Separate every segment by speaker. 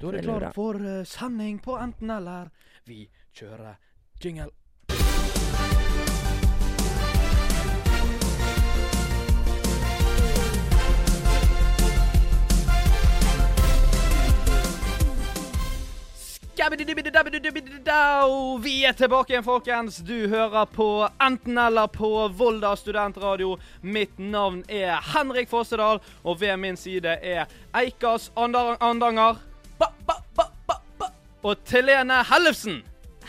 Speaker 1: Da er det
Speaker 2: Veldig
Speaker 1: klart
Speaker 2: bra.
Speaker 1: for eh, sending på enten-eller. Vi kjører jingle. Skabbididibbididabbididibbididau. Vi er tilbake igjen, folkens. Du hører på Enten-eller på Volda studentradio. Mitt navn er Henrik Fossedal, og ved min side er Eikas Andar- Andanger. Ba, ba, ba, ba, ba. Og Telene Hellefsen.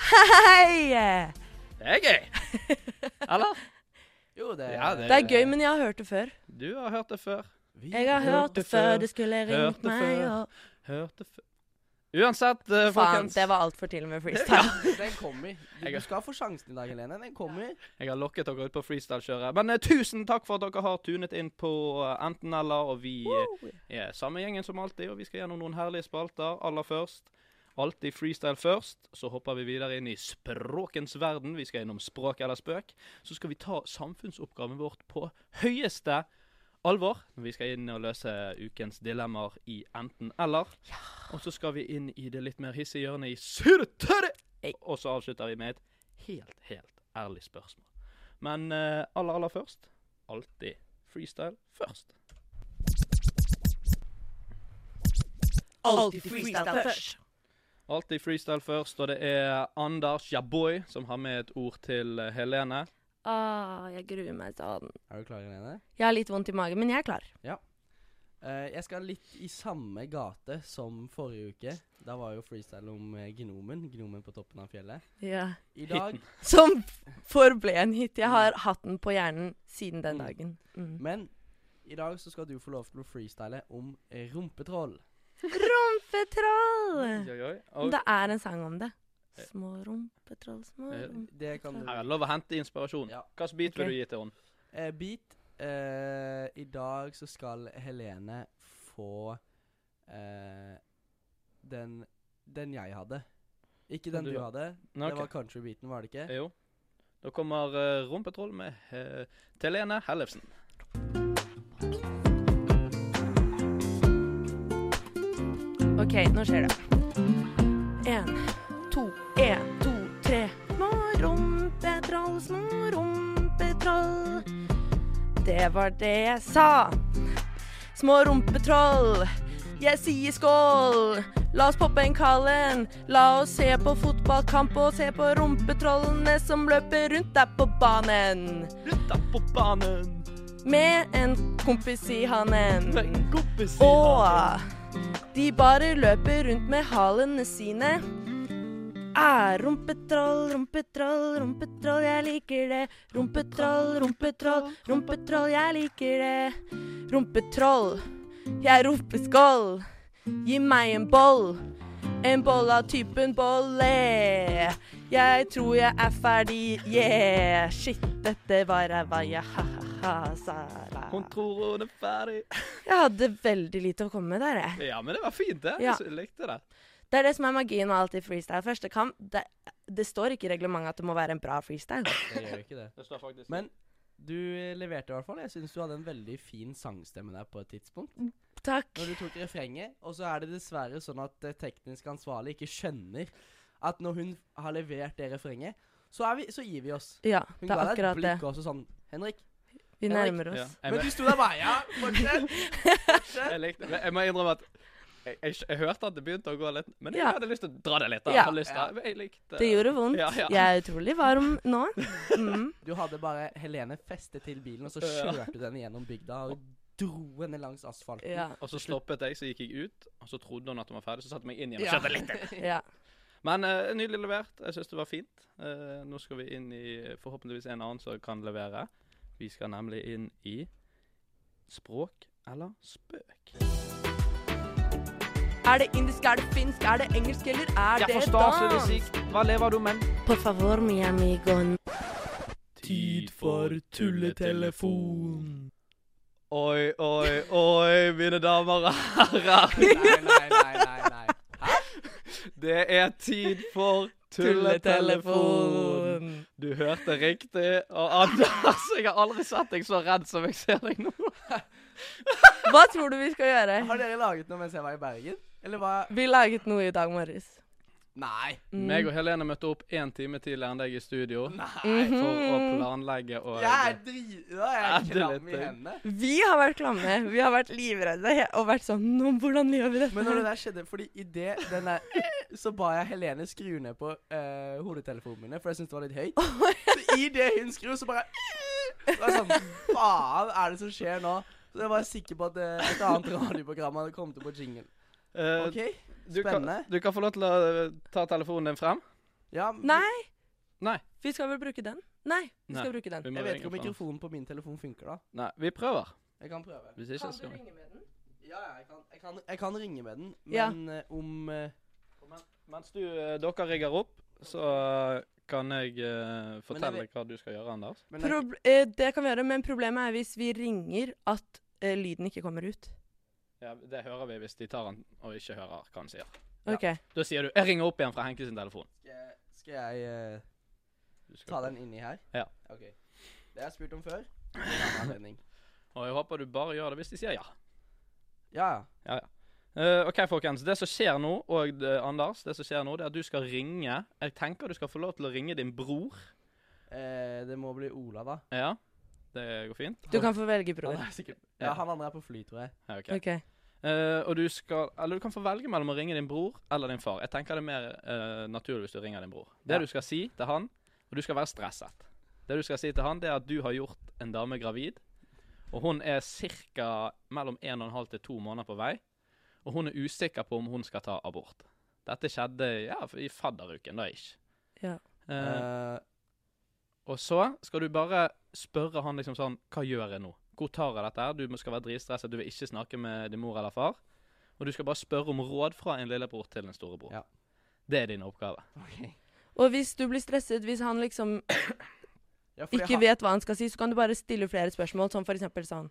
Speaker 2: Hei!
Speaker 1: Det er gøy. Eller?
Speaker 3: Jo, det,
Speaker 1: Ja, det-
Speaker 2: Det er gøy, men jeg har hørt det før.
Speaker 1: Du har hørt det før.
Speaker 3: Vi-
Speaker 2: Eh. Jeg har hørt det før, det skulle
Speaker 1: Hørte
Speaker 2: ringt meg
Speaker 1: før.
Speaker 2: og
Speaker 1: Hørt det før. Uansett, eh,
Speaker 2: Faen,
Speaker 1: folkens.
Speaker 2: det var altfor tidlig med freestyle.
Speaker 3: Den kommer. Du,
Speaker 1: Jeg-
Speaker 3: du skal få sjansen i dag, Helene. Den kommer.
Speaker 1: Jeg har lokket dere ut på freestyle-kjøret. Men eh, tusen takk for at dere har tunet inn på eh, Enten-eller. Og vi eh, er samme gjengen som alltid, og vi skal gjennom noen herlige spalter. Aller først alltid freestyle først. Så hopper vi videre inn i språkens verden. Vi skal innom språk eller spøk. Så skal vi ta samfunnsoppgaven vårt på høyeste alvor. Vi skal inn og løse ukens dilemmaer i Enten-eller. Og så skal vi inn i det litt mer hissige hjørnet i Surtørre!
Speaker 2: Ei.
Speaker 1: Og så avslutter vi med et helt, helt ærlig spørsmål. Men eh, aller, aller først alltid freestyle først.
Speaker 2: Alltid freestyle først.
Speaker 1: Alltid freestyle først, og det er Anders Jaboy som har med et ord til eh, Helene.
Speaker 2: Ah, jeg gruer meg sånn.
Speaker 3: Er du klar, Helene?
Speaker 2: Jeg har litt vondt i magen, men jeg er klar.
Speaker 3: Eh, jeg skal litt i samme gate som forrige uke. Da var jo freestyle om eh, gnomen. Gnomen på toppen av fjellet.
Speaker 2: Ja.
Speaker 3: I dag
Speaker 2: Som forble en hit. Jeg har hatt den på hjernen siden den
Speaker 3: Mm.
Speaker 2: dagen. Mm.
Speaker 3: Men i dag så skal du få lov til å freestyle om eh, rumpetroll.
Speaker 2: Rumpetroll!
Speaker 1: Oi, oi, oi.
Speaker 2: Men
Speaker 1: Og
Speaker 2: Det er en sang om det. Små rumpetroll, små
Speaker 1: Eh,
Speaker 2: rumpetroll
Speaker 3: Det kan du
Speaker 1: her er det lov å hente inspirasjon.
Speaker 3: Ja.
Speaker 1: Hvilken bit
Speaker 2: Ok.
Speaker 1: vil du gi til henne?
Speaker 3: Eh, beat. Eh, I dag så skal Helene få eh, den, den jeg hadde. Ikke den
Speaker 1: Den du
Speaker 3: du,
Speaker 1: ha-
Speaker 3: hadde.
Speaker 1: Nei,
Speaker 3: Det
Speaker 1: ok.
Speaker 3: var countrybeaten, var det ikke?
Speaker 1: Eh, Jo. Da kommer eh, Rumpetroll med eh, Telene Hellefsen.
Speaker 2: OK, nå skjer det. Én, to, én, to, tre. Små rumpetroll, små rumpetroll. Det var det jeg sa. Små rumpetroll, jeg sier skål. La oss poppe en Kallen. La oss se på fotballkamp og se på rumpetrollene som løper rundt der på banen.
Speaker 1: Rundt der på banen
Speaker 2: Med en kompis i hanen.
Speaker 1: med en kompis i handen.
Speaker 2: Og de bare løper rundt med halene sine. Ah, rumpetroll, rumpetroll, rumpetroll, jeg liker det. Rumpetroll, rumpetroll, rumpetroll, jeg liker det. Rumpetroll, jeg roper skål. Gi meg en boll. En boll av typen bolle. Jeg tror jeg er ferdig, yeah. Shit, dette var ræva, ja, ha-ha-ha, Sara.
Speaker 1: Hun tror hun er ferdig.
Speaker 2: Jeg hadde veldig lite å komme med der, jeg.
Speaker 1: Ja, men det var fint, det.
Speaker 2: Ja.
Speaker 1: Jeg likte det.
Speaker 2: Det er det som er magien med alt i freestyle. Første kamp, det, det står ikke i reglementet at det må være en bra freestyle.
Speaker 3: Det gjør jo ikke det.
Speaker 1: Det står faktisk
Speaker 3: Men du eh, leverte i hvert fall. Jeg syns du hadde en veldig fin sangstemme der på et tidspunkt.
Speaker 2: Takk.
Speaker 3: Når du tok refrenget, og så er det dessverre sånn at eh, teknisk ansvarlig ikke skjønner at når hun har levert det refrenget, så, er vi, så gir vi oss.
Speaker 2: Ja, det er
Speaker 3: Hun ga deg et
Speaker 2: akkurat det.
Speaker 3: blikk også sånn Henrik.
Speaker 2: Vi
Speaker 3: Henrik.
Speaker 2: nærmer
Speaker 1: ja.
Speaker 2: oss.
Speaker 1: Jeg
Speaker 3: Men
Speaker 1: ble-
Speaker 3: du sto der bare Ja, fortsett! fortsett.
Speaker 1: Jeg likte det. Jeg må innrømme at jeg, jeg, jeg hørte at det begynte å gå litt, men jeg
Speaker 2: Ja.
Speaker 1: hadde lyst til å dra det litt. da.
Speaker 2: Ja.
Speaker 1: Jeg, hadde lyst til, jeg likte
Speaker 2: Det gjorde vondt.
Speaker 1: Ja, ja.
Speaker 2: Jeg er utrolig varm nå. Mm.
Speaker 3: Du hadde bare Helene festet til bilen, og så
Speaker 1: Ja.
Speaker 3: kjørte du henne gjennom bygda og dro henne langs asfalten.
Speaker 2: Ja,
Speaker 1: Og så stoppet jeg, så gikk jeg ut, og så trodde hun at hun var ferdig. Så satte jeg meg inn igjen og
Speaker 3: Ja.
Speaker 1: kjørte litt til.
Speaker 2: ja.
Speaker 1: Men eh, nydelig levert. Jeg syns det var fint. Eh, nå skal vi inn i forhåpentligvis en annen som kan levere. Vi skal nemlig inn i språk eller spøk.
Speaker 2: Er det indisk, er det finsk, er det engelsk, eller er det dans?
Speaker 1: Hva lever du med?
Speaker 2: Por favor, mi amigo.
Speaker 1: Tid for tulletelefon. Oi, oi, oi, mine damer og herrer.
Speaker 3: Nei, nei, nei, nei, nei.
Speaker 1: Det er tid for tulletelefon.
Speaker 2: Tulletelefon.
Speaker 1: Du hørte riktig. Og Anders, jeg har aldri sett deg så redd som jeg ser deg nå.
Speaker 2: Hva tror du vi skal gjøre?
Speaker 3: Har dere laget noe mens jeg var i Bergen? Eller hva
Speaker 2: Vi laget noe i dag morges.
Speaker 3: Nei.
Speaker 2: Mm.
Speaker 1: Meg og Helene møtte opp én time tidligere enn deg i studio
Speaker 3: Nei.
Speaker 2: Mhm.
Speaker 1: for å planlegge og
Speaker 3: Jeg er drit... Da er jeg
Speaker 1: Ædelete.
Speaker 3: klam i hendene.
Speaker 2: Vi har vært klamme. Vi har vært livredde og vært sånn Nå, hvordan gjør vi dette?
Speaker 3: Men når det der skjedde Fordi i det den der Så ba jeg Helene skru ned på eh, hodetelefonene mine, for jeg syntes det var litt høyt. Så i det hun skrur, så bare Det var sånn Faen, er det som skjer nå? Så jeg var sikker på at eh, et annet radioprogram hadde kommet opp på jingle.
Speaker 1: Eh,
Speaker 3: OK?
Speaker 1: du, kan,
Speaker 3: spennende.
Speaker 1: du kan få lov til å eh, ta telefonen din frem.
Speaker 3: Ja, men
Speaker 2: Nei.
Speaker 1: Nei.
Speaker 2: Vi skal vel bruke den? Nei, vi
Speaker 1: Nei.
Speaker 2: skal bruke den.
Speaker 1: Vi må
Speaker 3: Jeg vet
Speaker 1: ringe
Speaker 3: ikke om
Speaker 1: på den.
Speaker 3: mikrofonen på min telefon funker, da.
Speaker 1: Nei, vi prøver.
Speaker 3: Jeg kan prøve.
Speaker 1: Hvis ikke, skal vi.
Speaker 2: med den?
Speaker 3: Ja, ja, jeg kan, jeg kan, jeg kan ringe med den,
Speaker 2: Ja.
Speaker 3: men eh, om eh,
Speaker 1: Mens du, eh, dere rigger opp, så eh, kan jeg eh, fortelle
Speaker 3: vet-
Speaker 1: hva du skal gjøre, Anders.
Speaker 3: men jeg,
Speaker 2: Prob eh, det kan vi gjøre, men problemet er hvis vi ringer at eh, lyden ikke kommer ut.
Speaker 1: Ja, det hører vi hvis de tar den og ikke hører hva han sier.
Speaker 3: Ja.
Speaker 2: OK.
Speaker 1: Da sier du 'jeg ringer opp igjen fra Henke sin telefon'.
Speaker 3: skal, skal jeg eh,
Speaker 1: Du skal-
Speaker 3: ta den inni her?
Speaker 1: Ja.
Speaker 3: OK. Det har jeg spurt om før. men en annen anledning.
Speaker 1: Og jeg håper du bare gjør det hvis de sier ja.
Speaker 3: Ja, ja.
Speaker 1: Eh, OK, folkens. Det som skjer nå, og eh, Anders, det som skjer nå, det er at du skal ringe Jeg tenker du skal få lov til å ringe din bror.
Speaker 3: Eh, det må bli Ola, da.
Speaker 1: Ja, det går fint.
Speaker 2: Du kan få velge, bror.
Speaker 3: Han er sikkert
Speaker 1: Ja.
Speaker 3: Ja, han andre er på fly, tror jeg.
Speaker 1: Ja, ok.
Speaker 2: OK.
Speaker 1: Eh, og du skal Eller du kan få velge mellom å ringe din bror eller din far. Jeg tenker det er mer eh, naturlig hvis du ringer din bror. Det
Speaker 3: Ja.
Speaker 1: du skal si til han, og du skal være stresset Det du skal si til han, det er at du har gjort en dame gravid. Og hun er ca. mellom 1 1,5 til 2 måneder på vei. Og hun er usikker på om hun skal ta abort. Dette skjedde ja, i fadderuken, da ikke.
Speaker 2: Ja.
Speaker 1: Eh,
Speaker 3: Eh,
Speaker 1: og så skal du bare spørre han liksom sånn Hva gjør jeg nå? Hvor tar jeg dette her? Du skal være dritstresset, du vil ikke snakke med din mor eller far. Og du skal bare spørre om råd fra en lillebror til en storebror.
Speaker 3: Ja.
Speaker 1: Det er din oppgave.
Speaker 3: ok.
Speaker 2: Og hvis du blir stresset, hvis han liksom
Speaker 3: Ja, fordi
Speaker 2: ikke
Speaker 3: han-
Speaker 2: vet hva han skal si, så kan du bare stille flere spørsmål, som for eksempel sånn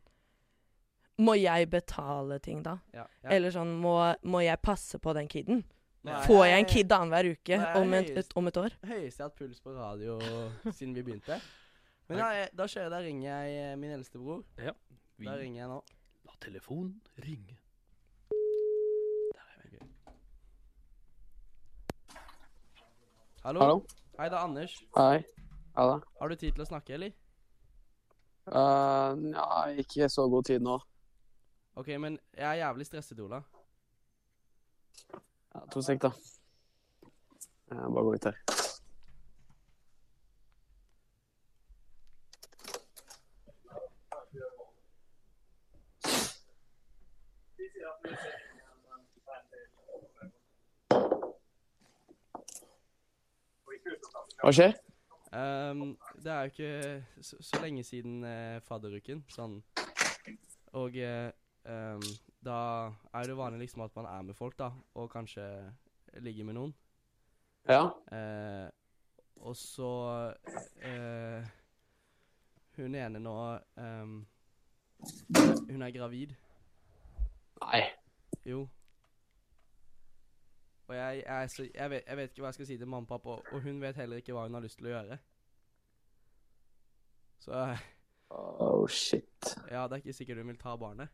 Speaker 2: Må jeg betale ting, da?
Speaker 3: Ja, ja.
Speaker 2: Eller sånn Må, må jeg passe på den kiden?
Speaker 3: Nei,
Speaker 2: Får jeg en kid annenhver uke
Speaker 3: Nei,
Speaker 2: om et,
Speaker 3: høyest.
Speaker 2: et, om et år?
Speaker 3: Høyeste jeg har hatt puls på radio siden vi begynte. Men ja, jeg, da kjører jeg, da ringer jeg eh, min eldste bror. Da ringer jeg nå.
Speaker 1: lar telefonen ringe.
Speaker 3: Hallo?
Speaker 4: Hallo.
Speaker 3: Hei, det er Anders.
Speaker 4: Hei. Ja da.
Speaker 3: Har du tid til å snakke, eller?
Speaker 4: Eh, Nja, ikke så god tid nå.
Speaker 3: OK, men jeg er jævlig stresset, Ola.
Speaker 4: Ja, to sek, da. Jeg bare gå ut her. Hva skjer?
Speaker 3: Ehm, det er jo ikke så, så lenge siden eh, fadderuken, sånn. Og eh, ehm, da er det jo vanlig liksom at man er med folk, da, og kanskje ligger med noen.
Speaker 4: Ja.
Speaker 3: Eh, og så eh, Hun ene nå ehm, Hun er gravid.
Speaker 4: Nei.
Speaker 3: Jo. Og jeg, jeg, er så, jeg, vet, jeg vet ikke hva jeg skal si til mamma og pappa, og- og hun vet heller ikke hva hun har lyst til å gjøre. Så
Speaker 4: Oh, shit.
Speaker 3: ja, det er ikke sikkert hun vil ta barnet.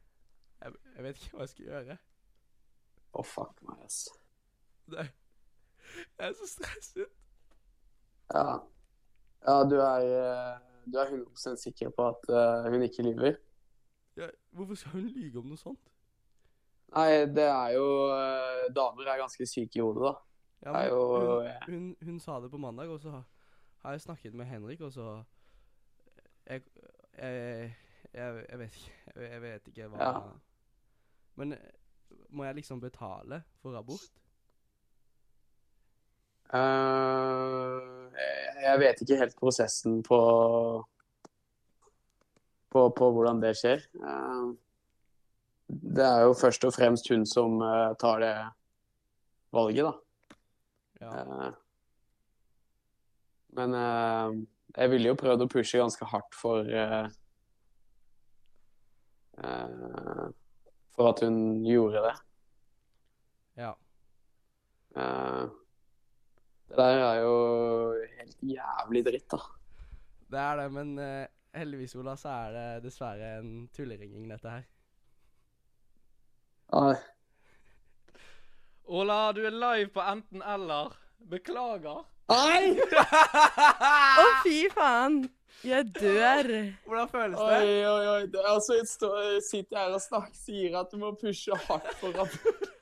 Speaker 3: Jeg, jeg vet ikke hva jeg skal gjøre.
Speaker 4: Å, Oh, fuck meg, ass.
Speaker 3: Det, jeg er så stresset.
Speaker 4: Ja. Ja, du er, eh, du er 100 sikker på at eh, hun ikke lyver?
Speaker 3: Ja, hvorfor skal hun lyge om noe sånt?
Speaker 4: Nei, det er jo eh, Damer er ganske syke i hodet, da.
Speaker 3: Ja,
Speaker 4: Det
Speaker 3: men
Speaker 4: er jo-
Speaker 3: hun, hun, hun sa det på mandag, og så har- har jeg snakket med Henrik, og så Jeg, jeg, jeg, jeg vet ikke Jeg vet ikke hva
Speaker 4: Ja.
Speaker 3: Men eh, må jeg liksom betale for abort?
Speaker 4: Eh, jeg- jeg vet ikke helt prosessen på på, på hvordan det skjer. Eh, det er jo først og fremst hun som eh, tar det valget, da.
Speaker 3: Ja.
Speaker 4: Eh, men eh, jeg ville jo prøvd å pushe ganske hardt for eh, eh, For at hun gjorde det.
Speaker 3: ja.
Speaker 4: Eh, det der er jo helt jævlig dritt, da.
Speaker 3: Det er det, men eh, heldigvis, Ola, så er det dessverre en tulleringing, dette her.
Speaker 4: Nei.
Speaker 1: Ola, du er live på enten-eller. Beklager.
Speaker 4: Nei!
Speaker 3: Ah!
Speaker 2: Å, fy faen! Jeg dør.
Speaker 3: Hvordan føles
Speaker 4: Oi,
Speaker 3: det?
Speaker 4: oi, oi. Det, altså, jeg står- sitter her og snakker, sier at du må pushe hardt for at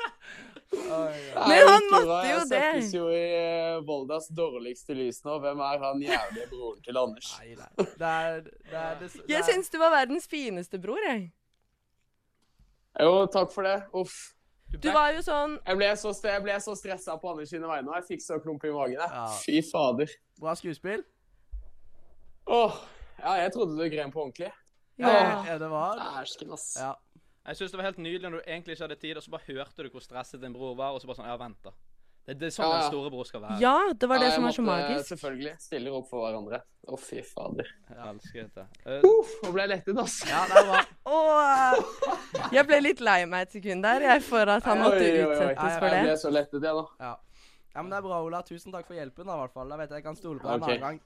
Speaker 3: Oi,
Speaker 2: Men
Speaker 4: Nei,
Speaker 2: han
Speaker 4: ikke
Speaker 2: måtte
Speaker 4: bra.
Speaker 2: jo
Speaker 4: Jeg
Speaker 2: det.
Speaker 4: søkes jo i eh, Voldas dårligste lys nå. Hvem er han jævlige broren til Anders?
Speaker 3: Nei, nei. Det er, det er, det, det
Speaker 2: Jeg
Speaker 3: er
Speaker 2: syns du var verdens fineste bror, jeg.
Speaker 4: Jo, takk for det. Uff.
Speaker 2: Du var jo sånn
Speaker 4: Jeg ble så, st- jeg ble så stressa på Anders sine vegne, og jeg fikk så klump i magen. Jeg.
Speaker 3: Ja.
Speaker 4: Fy fader.
Speaker 3: bra skuespill.
Speaker 4: Åh, ja, jeg trodde du gren på ordentlig.
Speaker 2: Ja.
Speaker 3: Ja, det var
Speaker 4: Æsken, ass.
Speaker 3: Ja.
Speaker 1: Jeg syns det var helt nydelig når du egentlig ikke hadde tid, og så bare hørte du hvor stresset din bror var, og så bare sånn Ja, vent, da. Det, det er sånn
Speaker 4: Ja, ja.
Speaker 1: en storebror skal være.
Speaker 2: Ja, det var
Speaker 4: Ja,
Speaker 2: det
Speaker 4: jeg
Speaker 2: som var så
Speaker 4: måtte, eh,
Speaker 2: magisk.
Speaker 4: Selvfølgelig. Stiller opp for hverandre. Å, fy fader.
Speaker 1: Elsket det. Eh,
Speaker 4: Uff, nå ble jeg lettet, ass.
Speaker 3: ja, det er bra.
Speaker 2: Åh, jeg ble litt lei meg et sekund der, jeg, for at han måtte
Speaker 4: Oi, oi, oi.
Speaker 2: utsettes for
Speaker 4: Jeg
Speaker 2: det.
Speaker 4: ble så lettet, jeg, nå.
Speaker 3: Ja. ja, men det er bra, Ola. Tusen takk for hjelpen. da, i hvert fall. Da vet jeg jeg kan stole på deg en
Speaker 4: Ok.
Speaker 3: annen gang.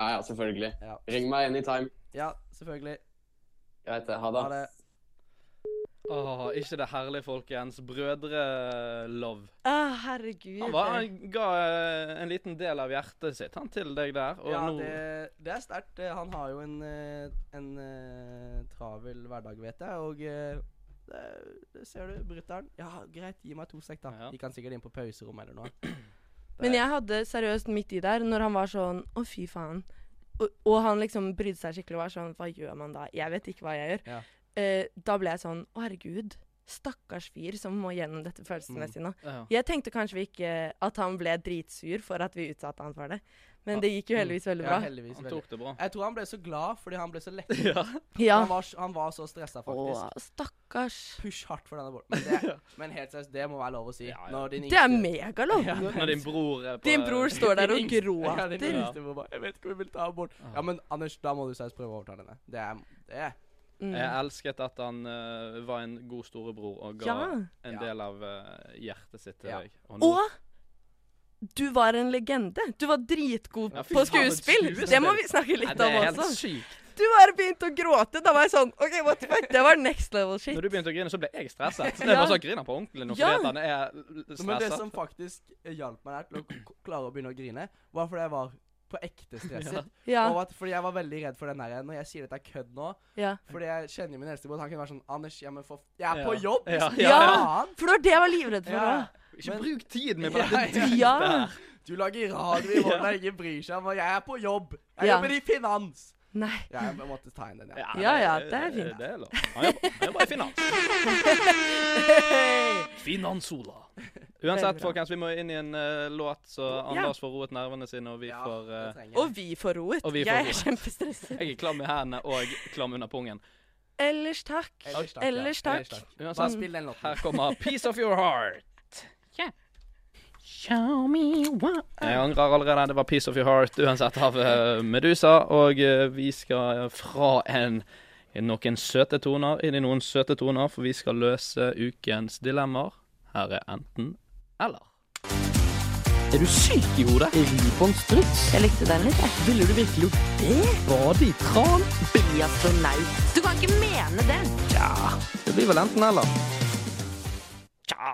Speaker 4: Ja, ja, selvfølgelig.
Speaker 3: Ja.
Speaker 4: Ring meg anytime.
Speaker 3: ja, selvfølgelig.
Speaker 4: Jeg vet det. Ha det.
Speaker 3: Ha det.
Speaker 1: Åh, ikke det herlige, folkens. Brødre-love.
Speaker 2: Å, herregud.
Speaker 1: Han, var, han ga eh, en liten del av hjertet sitt, han, til deg der. Og
Speaker 3: Ja,
Speaker 1: nå
Speaker 3: det, det er sterkt. Eh, Han har jo en, eh, en eh, travel hverdag, vet jeg. Og eh, det, det ser du, brutter'n. Ja, greit, gi meg to sekk, da.
Speaker 1: Ja.
Speaker 3: De kan sikkert inn på pauserommet eller noe.
Speaker 2: Men jeg hadde seriøst midt i der, når han var sånn Å, fy faen. Og, og han liksom brydde seg skikkelig og var sånn Hva gjør man da? Jeg vet ikke hva jeg gjør.
Speaker 3: Ja.
Speaker 2: Eh, da ble jeg sånn Å, herregud. Stakkars fyr som må gjennom dette
Speaker 4: Mm.
Speaker 2: følelsesmessig nå.
Speaker 1: Ja.
Speaker 2: Jeg tenkte kanskje vi ikke at han ble dritsur for at vi utsatte han for det, men det
Speaker 4: Mm.
Speaker 2: gikk jo heldigvis veldig
Speaker 3: Ja,
Speaker 2: bra.
Speaker 3: heldigvis.
Speaker 1: Han
Speaker 3: Veldig.
Speaker 1: tok det bra.
Speaker 3: Jeg tror han ble så glad fordi han ble så lett.
Speaker 1: Ja.
Speaker 2: Ja.
Speaker 3: Han, var, s- han var så stressa, faktisk.
Speaker 2: Å, stakkars.
Speaker 3: Push hardt for denne bollen. Men, det, men helt seriøst, det må være lov å si.
Speaker 1: Ja, ja.
Speaker 3: Når din
Speaker 2: Det er
Speaker 3: yngste-
Speaker 2: megalov.
Speaker 1: Når din bror er på
Speaker 2: Din bror står der og
Speaker 3: Ja, din
Speaker 2: gråter.
Speaker 3: yngste må bare, Jeg vet ikke om jeg vil ta bort. Ja, men Anders, da må du seriøst prøve å overtale henne. Det er, det er.
Speaker 2: Mm.
Speaker 1: Jeg elsket at han eh, var en god storebror og ga
Speaker 2: Ja.
Speaker 1: en
Speaker 3: Ja.
Speaker 1: del av eh, hjertet sitt til
Speaker 3: Ja.
Speaker 1: deg. Og nå-
Speaker 2: Og du var en legende. Du var dritgod
Speaker 1: Ja, fy
Speaker 2: på
Speaker 1: faen, for et
Speaker 2: skuespill.
Speaker 1: skuespill.
Speaker 2: Det må vi snakke
Speaker 1: Nei,
Speaker 2: litt
Speaker 1: det
Speaker 2: om
Speaker 1: er helt
Speaker 2: også.
Speaker 1: sykt.
Speaker 2: Du bare begynte å gråte. Da var jeg sånn OK, what the fuck? Det var next level shit.
Speaker 1: Når du begynte å grine, så ble jeg stresset. Det
Speaker 2: Ja.
Speaker 1: var sånn, griner han på ordentlig nå
Speaker 2: Ja.
Speaker 1: fordi at han er l- l-
Speaker 3: Men det
Speaker 1: stresset.
Speaker 3: som faktisk hjalp meg der til å k- k- klare å begynne å grine, var fordi jeg var på ekte stresset.
Speaker 2: Ja,
Speaker 3: Og at, fordi jeg var veldig redd for den der Når jeg sier dette er kødd nå
Speaker 2: ja.
Speaker 3: Fordi jeg kjenner jo min eldste bror. Han kunne være sånn Anders, jeg, må få, jeg er
Speaker 1: Ja.
Speaker 3: på jobb!
Speaker 1: Ja,
Speaker 3: liksom.
Speaker 1: ja,
Speaker 2: ja.
Speaker 3: Faen!
Speaker 2: For det var det jeg var livredd for
Speaker 3: Ja.
Speaker 2: òg.
Speaker 1: Ikke
Speaker 3: Men-
Speaker 1: bruk tiden min på
Speaker 3: Ja,
Speaker 1: dette
Speaker 3: ja.
Speaker 1: dritet
Speaker 2: Ja.
Speaker 1: her.
Speaker 3: Du lager radio i hånda, ingen bryr seg om og Jeg er på jobb! Jeg
Speaker 2: Ja.
Speaker 3: jobber i finans!
Speaker 2: Nei.
Speaker 3: Ja, jeg måtte ta inn den, ja.
Speaker 2: Ja, ja, det er fint.
Speaker 1: Det er lov. Han jobber- han jobber i finans. Finansola. Uansett,
Speaker 2: Veldig bra.
Speaker 1: folkens, vi må inn i en eh, låt, så
Speaker 2: Ja.
Speaker 1: Anders får roet nervene sine, og vi
Speaker 3: Ja,
Speaker 1: får
Speaker 3: det
Speaker 1: eh,
Speaker 3: trenger jeg.
Speaker 2: Og vi får roet.
Speaker 1: Og vi får
Speaker 2: Jeg er
Speaker 1: roet.
Speaker 2: kjempestresset.
Speaker 1: Jeg er klam i hendene og klam under pungen.
Speaker 2: Ellers takk.
Speaker 3: Ellers takk.
Speaker 2: Ellers
Speaker 3: ja.
Speaker 2: takk.
Speaker 3: Ellers takk. Bare
Speaker 1: Uansett,
Speaker 3: spill den låten.
Speaker 1: her kommer 'Piece of Your Heart'. Show me what Jeg angrer allerede. Det var 'Piece of Your Heart' uansett av eh, Medusa. Og eh, vi skal fra en noen søte toner inn i noen søte toner, for vi skal løse ukens dilemmaer. Her er enten eller. Er du syk i hodet? Er du på en struts?
Speaker 2: Jeg likte den litt, jeg.
Speaker 1: Ville du virkelig gjort det? Bade i tran?
Speaker 2: Bli astronaut. Du kan ikke mene det.
Speaker 1: Det blir vel enten eller. Tja.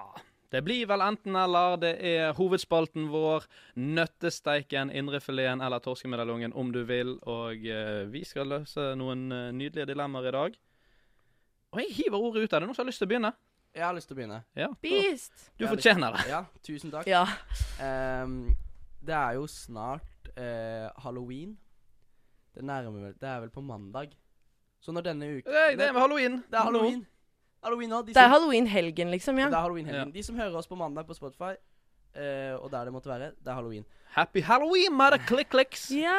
Speaker 1: Det blir vel enten eller. Det er hovedspalten vår. Nøttesteiken, indrefileten eller torskemedaljongen, om du vil. Og eh, vi skal løse noen eh, nydelige dilemmaer i dag. Og jeg hiver ordet ut. Er det noen som har lyst til å begynne?
Speaker 3: Jeg har lyst til å begynne.
Speaker 1: Ja.
Speaker 2: Beast.
Speaker 1: Du fortjener det.
Speaker 3: Ja, tusen takk.
Speaker 2: Ja.
Speaker 3: Ehm, det er jo snart eh, halloween. Det nærmer vel Det er vel på mandag. Så når denne uka
Speaker 1: Nei, det er halloween.
Speaker 3: Det er halloween. Halloween nå. De
Speaker 2: Det er
Speaker 3: som,
Speaker 2: halloween-helgen, liksom,
Speaker 3: det
Speaker 2: ja.
Speaker 3: er halloween-helgen. De som hører oss på mandag på Spotify, eh, og der det måtte være, det er halloween.
Speaker 1: Happy halloween, mother click-clicks.
Speaker 2: Ja.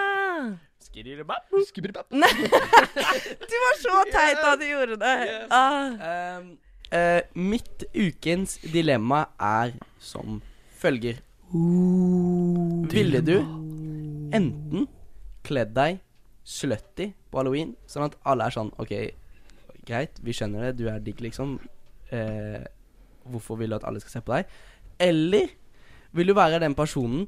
Speaker 3: Skididibap.
Speaker 2: Nei. Du var så teit da du gjorde det.
Speaker 1: Yes.
Speaker 2: Ah.
Speaker 3: Ehm, eh, mitt ukens dilemma er som følger. Ville du enten kledd deg slutty på halloween, sånn at alle er sånn OK, greit, vi skjønner det, du er digg, liksom. Eh, hvorfor vil du at alle skal se på deg? Eller vil du være den personen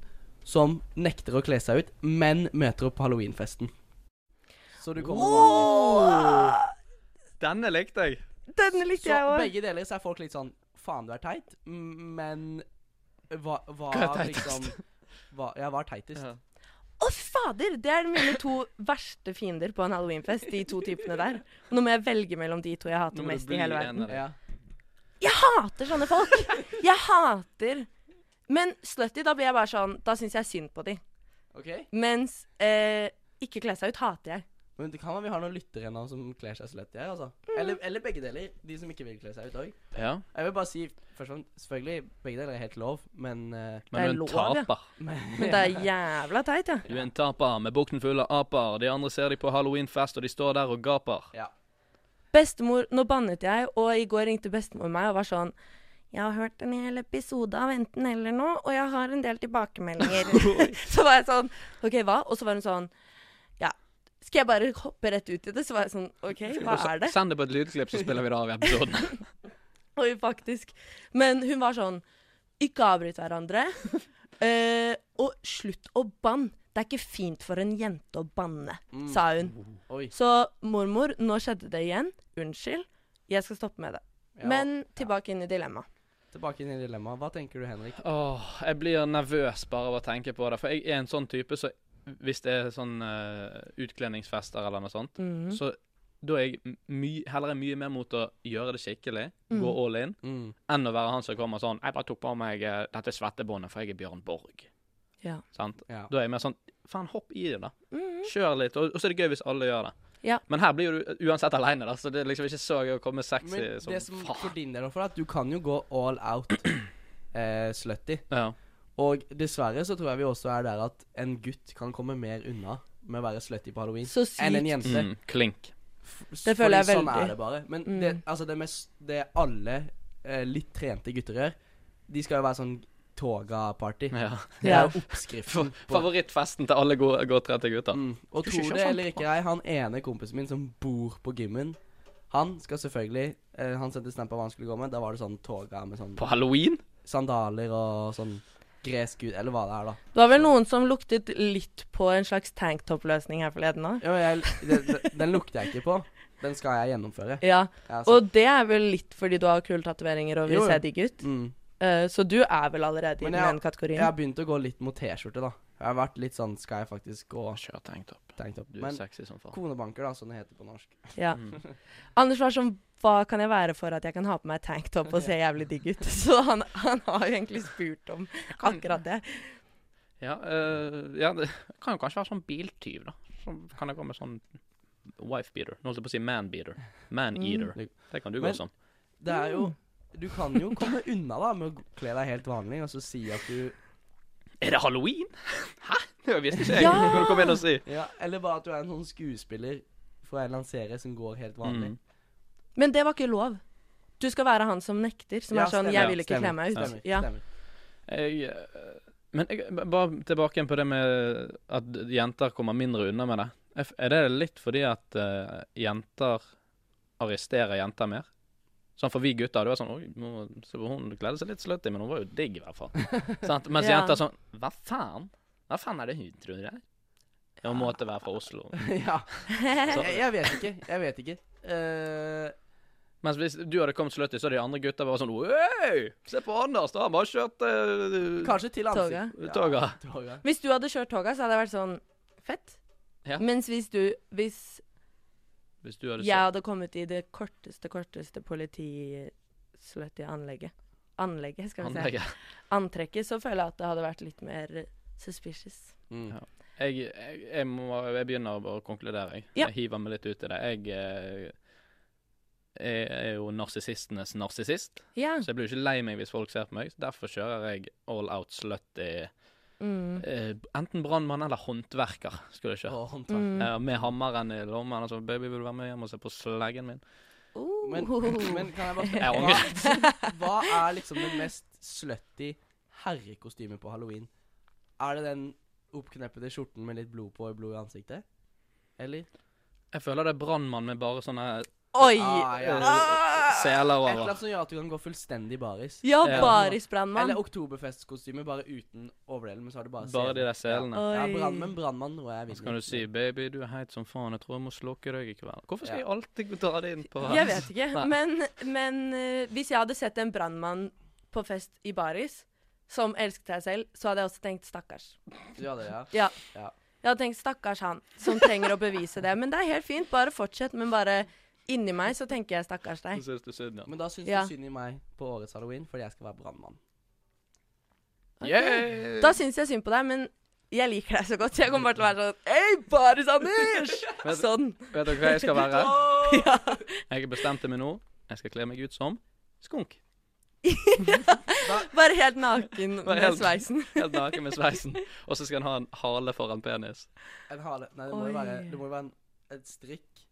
Speaker 3: som nekter å kle seg ut, men møter opp på halloweenfesten? Så du kommer
Speaker 2: Åh!
Speaker 1: Denne likte jeg.
Speaker 2: Denne likte
Speaker 3: så
Speaker 2: jeg òg.
Speaker 3: begge deler så er folk litt sånn faen, du er teit, m- men hva, hva
Speaker 1: Hva er teitest?
Speaker 3: liksom hva, Jeg var teitest.
Speaker 1: Ja.
Speaker 2: Å, fy fader! Det er mine to verste fiender på en halloweenfest, de to typene der. Nå må jeg velge mellom de to jeg
Speaker 1: Nå
Speaker 2: hater
Speaker 1: må du
Speaker 2: mest
Speaker 1: bli
Speaker 2: i hele
Speaker 1: en
Speaker 2: verden.
Speaker 1: av dem.
Speaker 3: Ja.
Speaker 2: Jeg hater sånne folk! Jeg hater Men slutty, da blir jeg bare sånn Da syns jeg synd på de.
Speaker 3: OK?
Speaker 2: Mens eh, ikke kle seg ut hater jeg.
Speaker 3: Men det kan være vi har noen lyttere nå som kler seg slutty her, altså. Eller, eller begge deler. De som ikke vil kle seg ut òg.
Speaker 1: Ja.
Speaker 3: Jeg vil bare si først og fremst, selvfølgelig, begge deler er helt lov, men eh,
Speaker 1: Men
Speaker 2: Det
Speaker 1: du
Speaker 2: er
Speaker 1: er en
Speaker 2: lov, ja.
Speaker 1: taper.
Speaker 2: Men det er jævla teit, ja.
Speaker 1: Du er en taper med bukten full av aper. De andre ser deg på halloweenfest, og de står der og gaper.
Speaker 3: Ja.
Speaker 2: Bestemor, nå bannet jeg, og i går ringte bestemor meg og var sånn jeg har hørt en hel episode av Enten eller nå, og jeg har en del tilbakemeldinger. så var jeg sånn OK, hva? Og så var hun sånn Ja, skal jeg bare hoppe rett ut i det? Så var jeg sånn OK, hva er det?
Speaker 1: Send det på et lydklipp, så spiller vi det av i episoden.
Speaker 2: Oi, faktisk. Men hun var sånn Ikke avbryt hverandre. eh, og slutt å banne. Det er ikke fint for en jente å banne, sa hun.
Speaker 3: Oi.
Speaker 2: Så mormor, nå skjedde det igjen. Unnskyld. Jeg skal stoppe med det.
Speaker 3: Ja,
Speaker 2: Men tilbake inn i dilemmaet.
Speaker 3: Tilbake inn i dilemmaet. Hva tenker du, Henrik?
Speaker 1: Åh, jeg blir nervøs bare av å tenke på det. For jeg er en sånn type, så hvis det er sånn eh, utkledningsfester eller noe sånt,
Speaker 2: Mm.
Speaker 3: Mhm.
Speaker 1: så da er jeg m- my heller er mye mer mot å gjøre det skikkelig, gå all in,
Speaker 3: Mm.
Speaker 1: enn å være han som kommer sånn 'Jeg bare tok på meg eh, dette svettebåndet, for jeg er Bjørn Borg.'
Speaker 2: Ja.
Speaker 1: Sant?
Speaker 3: Ja.
Speaker 1: Da er jeg mer sånn Faen, hopp i det, da.
Speaker 2: Mm.
Speaker 1: Kjør litt. Og, og så er det gøy hvis alle gjør det.
Speaker 2: Ja.
Speaker 1: Men her blir du uansett aleine, da, så det er liksom ikke så gøy å komme sexy
Speaker 3: Men
Speaker 1: som,
Speaker 3: det som for
Speaker 1: faen.
Speaker 3: din del, for at du kan jo gå all out eh, slutty.
Speaker 1: Ja.
Speaker 3: Og dessverre så tror jeg vi også er der at en gutt kan komme mer unna med å være slutty på halloween
Speaker 2: Så sykt.
Speaker 3: enn en jente.
Speaker 1: Mm, klink.
Speaker 3: Det
Speaker 2: føler jeg
Speaker 3: Sånn
Speaker 2: veldig. Mm.
Speaker 3: er det bare. Men det, altså det, mest, det alle eh, litt trente gutter gjør, de skal jo være sånn toga-party.
Speaker 1: Ja.
Speaker 3: Det
Speaker 2: Ja.
Speaker 3: er jo oppskriften på
Speaker 1: Favorittfesten til alle gode, godt trente gutter.
Speaker 3: Mm. Og
Speaker 1: Du skal sånn? ikke
Speaker 3: tro det
Speaker 1: ha
Speaker 3: eller
Speaker 1: sånt
Speaker 3: ikke, jeg, han ene kompisen min som bor på gymmen, han skal selvfølgelig eh, Han sendte snap av hva han skulle gå med. Da var det sånn toga med sånn
Speaker 1: På halloween?
Speaker 3: sandaler og sånn gresk gud, eller hva det er, da.
Speaker 2: Det var vel noen som luktet litt på en slags tanktop-løsning her forleden òg.
Speaker 3: Ja, men jeg, det, det, den lukter jeg ikke på. Den skal jeg gjennomføre.
Speaker 2: Ja.
Speaker 3: Jeg, altså.
Speaker 2: Og det er vel litt fordi du har kule tatoveringer og vil
Speaker 3: Jo, jo.
Speaker 2: se digg ut.
Speaker 3: mm.
Speaker 2: Eh, så du er vel allerede i
Speaker 3: Men
Speaker 2: den
Speaker 3: jeg-
Speaker 2: ene kategorien.
Speaker 3: jeg har begynt å gå litt mot T-skjorte, da. Jeg har vært litt sånn Skal jeg faktisk gå
Speaker 1: Kjør tanktopp.
Speaker 3: tanktop?
Speaker 1: Du er
Speaker 3: Men
Speaker 1: sexy som faen.
Speaker 3: konebanker, da, som det heter på norsk.
Speaker 2: Ja. Anders var sånn Hva kan jeg være for at jeg kan ha på meg tanktop og se jævlig digg ut? Så han, han har jo egentlig spurt om akkurat det.
Speaker 1: Ja, eh, ja, det kan jo kanskje være sånn biltyv, da. Som kan jeg gå med sånn wife beater. Nå holdt jeg på å si man beater. Man eater. Det kan du sånn. gå
Speaker 3: Mm. Men-
Speaker 1: som.
Speaker 3: Det er jo Du kan jo komme unna da med å kle deg helt vanlig og så si at du
Speaker 1: Er det halloween? Hæ? Det visste ikke jeg.
Speaker 2: Ja!
Speaker 1: Kan du komme inn og si?
Speaker 3: Ja, eller bare at du er en sånn skuespiller fra en eller annen serie som går helt vanlig.
Speaker 1: Mm.
Speaker 2: Men det var ikke lov. Du skal være han som nekter, som
Speaker 3: Ja,
Speaker 2: er sånn
Speaker 3: stemmer.
Speaker 2: 'Jeg vil ikke
Speaker 3: Stemmer.
Speaker 2: kle meg ut'.
Speaker 3: Stemmer.
Speaker 2: Ja.
Speaker 3: Stemmer.
Speaker 1: Jeg, eh, men jeg, b- bare tilbake igjen på det med at jenter kommer mindre unna med det. Er f- Er det litt fordi at eh, jenter arresterer jenter mer? Sånn For vi gutter det var sånn Oi, nå, så hun kledde seg litt slutty, men hun var jo digg, i hvert fall. Sant? Mens
Speaker 2: Ja.
Speaker 1: jenter er sånn Hva faen? Hva faen er det hun tror det er? Ja, Hun måtte være fra Oslo.
Speaker 3: ja. Jeg, jeg vet ikke. Jeg vet ikke. Eh,
Speaker 1: Mens hvis du hadde kommet slutty, så hadde de andre gutta bare sånn Oi, se på Anders, da! Han bare kjørt uh,
Speaker 3: kanskje til ansikt.
Speaker 2: Toga.
Speaker 3: Ja,
Speaker 1: Toga.
Speaker 3: toga.
Speaker 2: Hvis du hadde kjørt toga, så hadde det vært sånn Fett.
Speaker 1: Ja.
Speaker 2: Mens hvis du Hvis
Speaker 1: Hvis du hadde
Speaker 2: jeg hadde kommet i det korteste, korteste politisløttige anlegget Anlegget, skal vi si.
Speaker 1: anlegget
Speaker 2: Antrekket, så føler jeg at det hadde vært litt mer suspicious.
Speaker 3: Mm.
Speaker 1: Ja. Jeg, jeg, jeg, må, jeg begynner bare å konkludere. Jeg,
Speaker 2: Ja.
Speaker 1: jeg hiver meg litt ut i det. Jeg, eh, jeg er jo narsissistenes narsissist,
Speaker 2: Ja.
Speaker 1: så jeg blir jo ikke lei meg hvis folk ser på meg. Så derfor kjører jeg all out slut i
Speaker 2: Mm.
Speaker 1: eh, enten brannmann eller håndverker. skulle jeg kjøre.
Speaker 3: Og håndtak.
Speaker 2: Mm.
Speaker 1: Eh, med hammeren i lommen. Altså, 'Baby, vil du være med hjem og se på sleggen min?'
Speaker 2: Oh.
Speaker 3: Men, men kan jeg bare
Speaker 1: Jeg
Speaker 3: spørre hva, hva er liksom det mest slutty herrekostymet på halloween? Er det den oppkneppede skjorten med litt blod på og blod i ansiktet? Eller?
Speaker 1: Jeg føler det er brannmann med bare sånne
Speaker 2: Oi!
Speaker 3: Ah, ja.
Speaker 1: eh, seler
Speaker 3: Et eller
Speaker 1: over.
Speaker 3: annet som gjør at du kan gå fullstendig baris.
Speaker 2: Ja,
Speaker 1: Ja.
Speaker 2: barisbrannmann.
Speaker 3: Eller oktoberfestkostyme, bare uten overdelen, men så har du bare
Speaker 1: Bare de
Speaker 3: selen.
Speaker 1: der selene.
Speaker 3: Ja,
Speaker 2: Oi.
Speaker 3: brand, men brannmann tror jeg
Speaker 1: Så kan du si 'baby, du er heit som faen, jeg tror jeg må slukke deg i kveld'. Hvorfor skal jeg alltid dra det inn på
Speaker 2: Jeg vet ikke.
Speaker 1: Nei.
Speaker 2: Men, men eh, hvis jeg hadde sett en brannmann på fest i baris som elsket seg selv, så hadde jeg også tenkt stakkars.
Speaker 3: Ja, det, ja.
Speaker 2: Ja.
Speaker 3: Ja.
Speaker 2: Jeg hadde tenkt stakkars han som trenger å bevise det. Men det er helt fint, bare fortsett. Men bare inni meg så tenker jeg stakkars
Speaker 1: Så
Speaker 2: deg.
Speaker 1: synes du synd, ja.
Speaker 3: Men da syns
Speaker 2: Ja.
Speaker 3: du synd i meg på årets halloween, fordi jeg skal være brannmann.
Speaker 1: Yeah!
Speaker 2: Da syns jeg synd på deg, men jeg liker deg så godt. Jeg kommer bare til å være sånn Hei, Baris-Anders! Sånn.
Speaker 1: Vet dere hva jeg skal være?
Speaker 2: Ja.
Speaker 1: Jeg bestemte meg nå. Jeg skal kle meg ut som skunk.
Speaker 2: Bare helt naken
Speaker 1: Bare
Speaker 2: med
Speaker 1: helt-
Speaker 2: sveisen.
Speaker 1: Helt naken med sveisen. Og så skal han ha en hale foran penis.
Speaker 3: En hale Nei, det må jo
Speaker 2: Oi.
Speaker 3: være, det må jo være en, et strikk.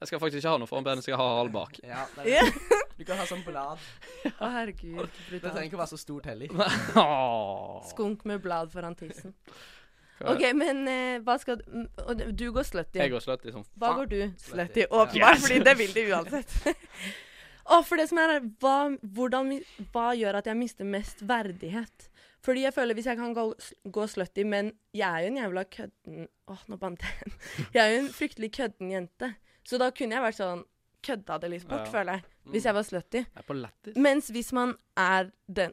Speaker 1: Jeg skal faktisk ikke ha noe foran penis, jeg skal ha halen bak.
Speaker 3: Ja, det
Speaker 2: Ja.
Speaker 3: er, Du kan ha sånn blad.
Speaker 2: Å, herregud.
Speaker 3: Det trenger
Speaker 2: Brutalt.
Speaker 3: ikke å være så stort heller.
Speaker 1: Åh.
Speaker 2: Skunk med blad foran tissen.
Speaker 1: Hva-
Speaker 2: OK, men eh, hva skal du mm, og Du går slutty.
Speaker 1: Jeg går liksom- slutty som
Speaker 2: Hva
Speaker 1: faen.
Speaker 2: går du slett i?
Speaker 3: Slutty.
Speaker 2: Åpenbart,
Speaker 1: Yes.
Speaker 2: fordi det vil de uansett. Og for det som er, er, hva, hvordan, mi- hva gjør at jeg mister mest verdighet? Fordi jeg føler hvis jeg kan gå, gå slutty, men jeg er jo en jævla kødden Åh, nå bandt jeg. Jeg er jo en fryktelig kødden jente. Så da kunne jeg vært sånn Kødda det litt bort,
Speaker 1: Ja. Mm.
Speaker 2: føler jeg. Hvis jeg var slutty.
Speaker 1: Jeg er på lættis.
Speaker 2: Mens hvis man er den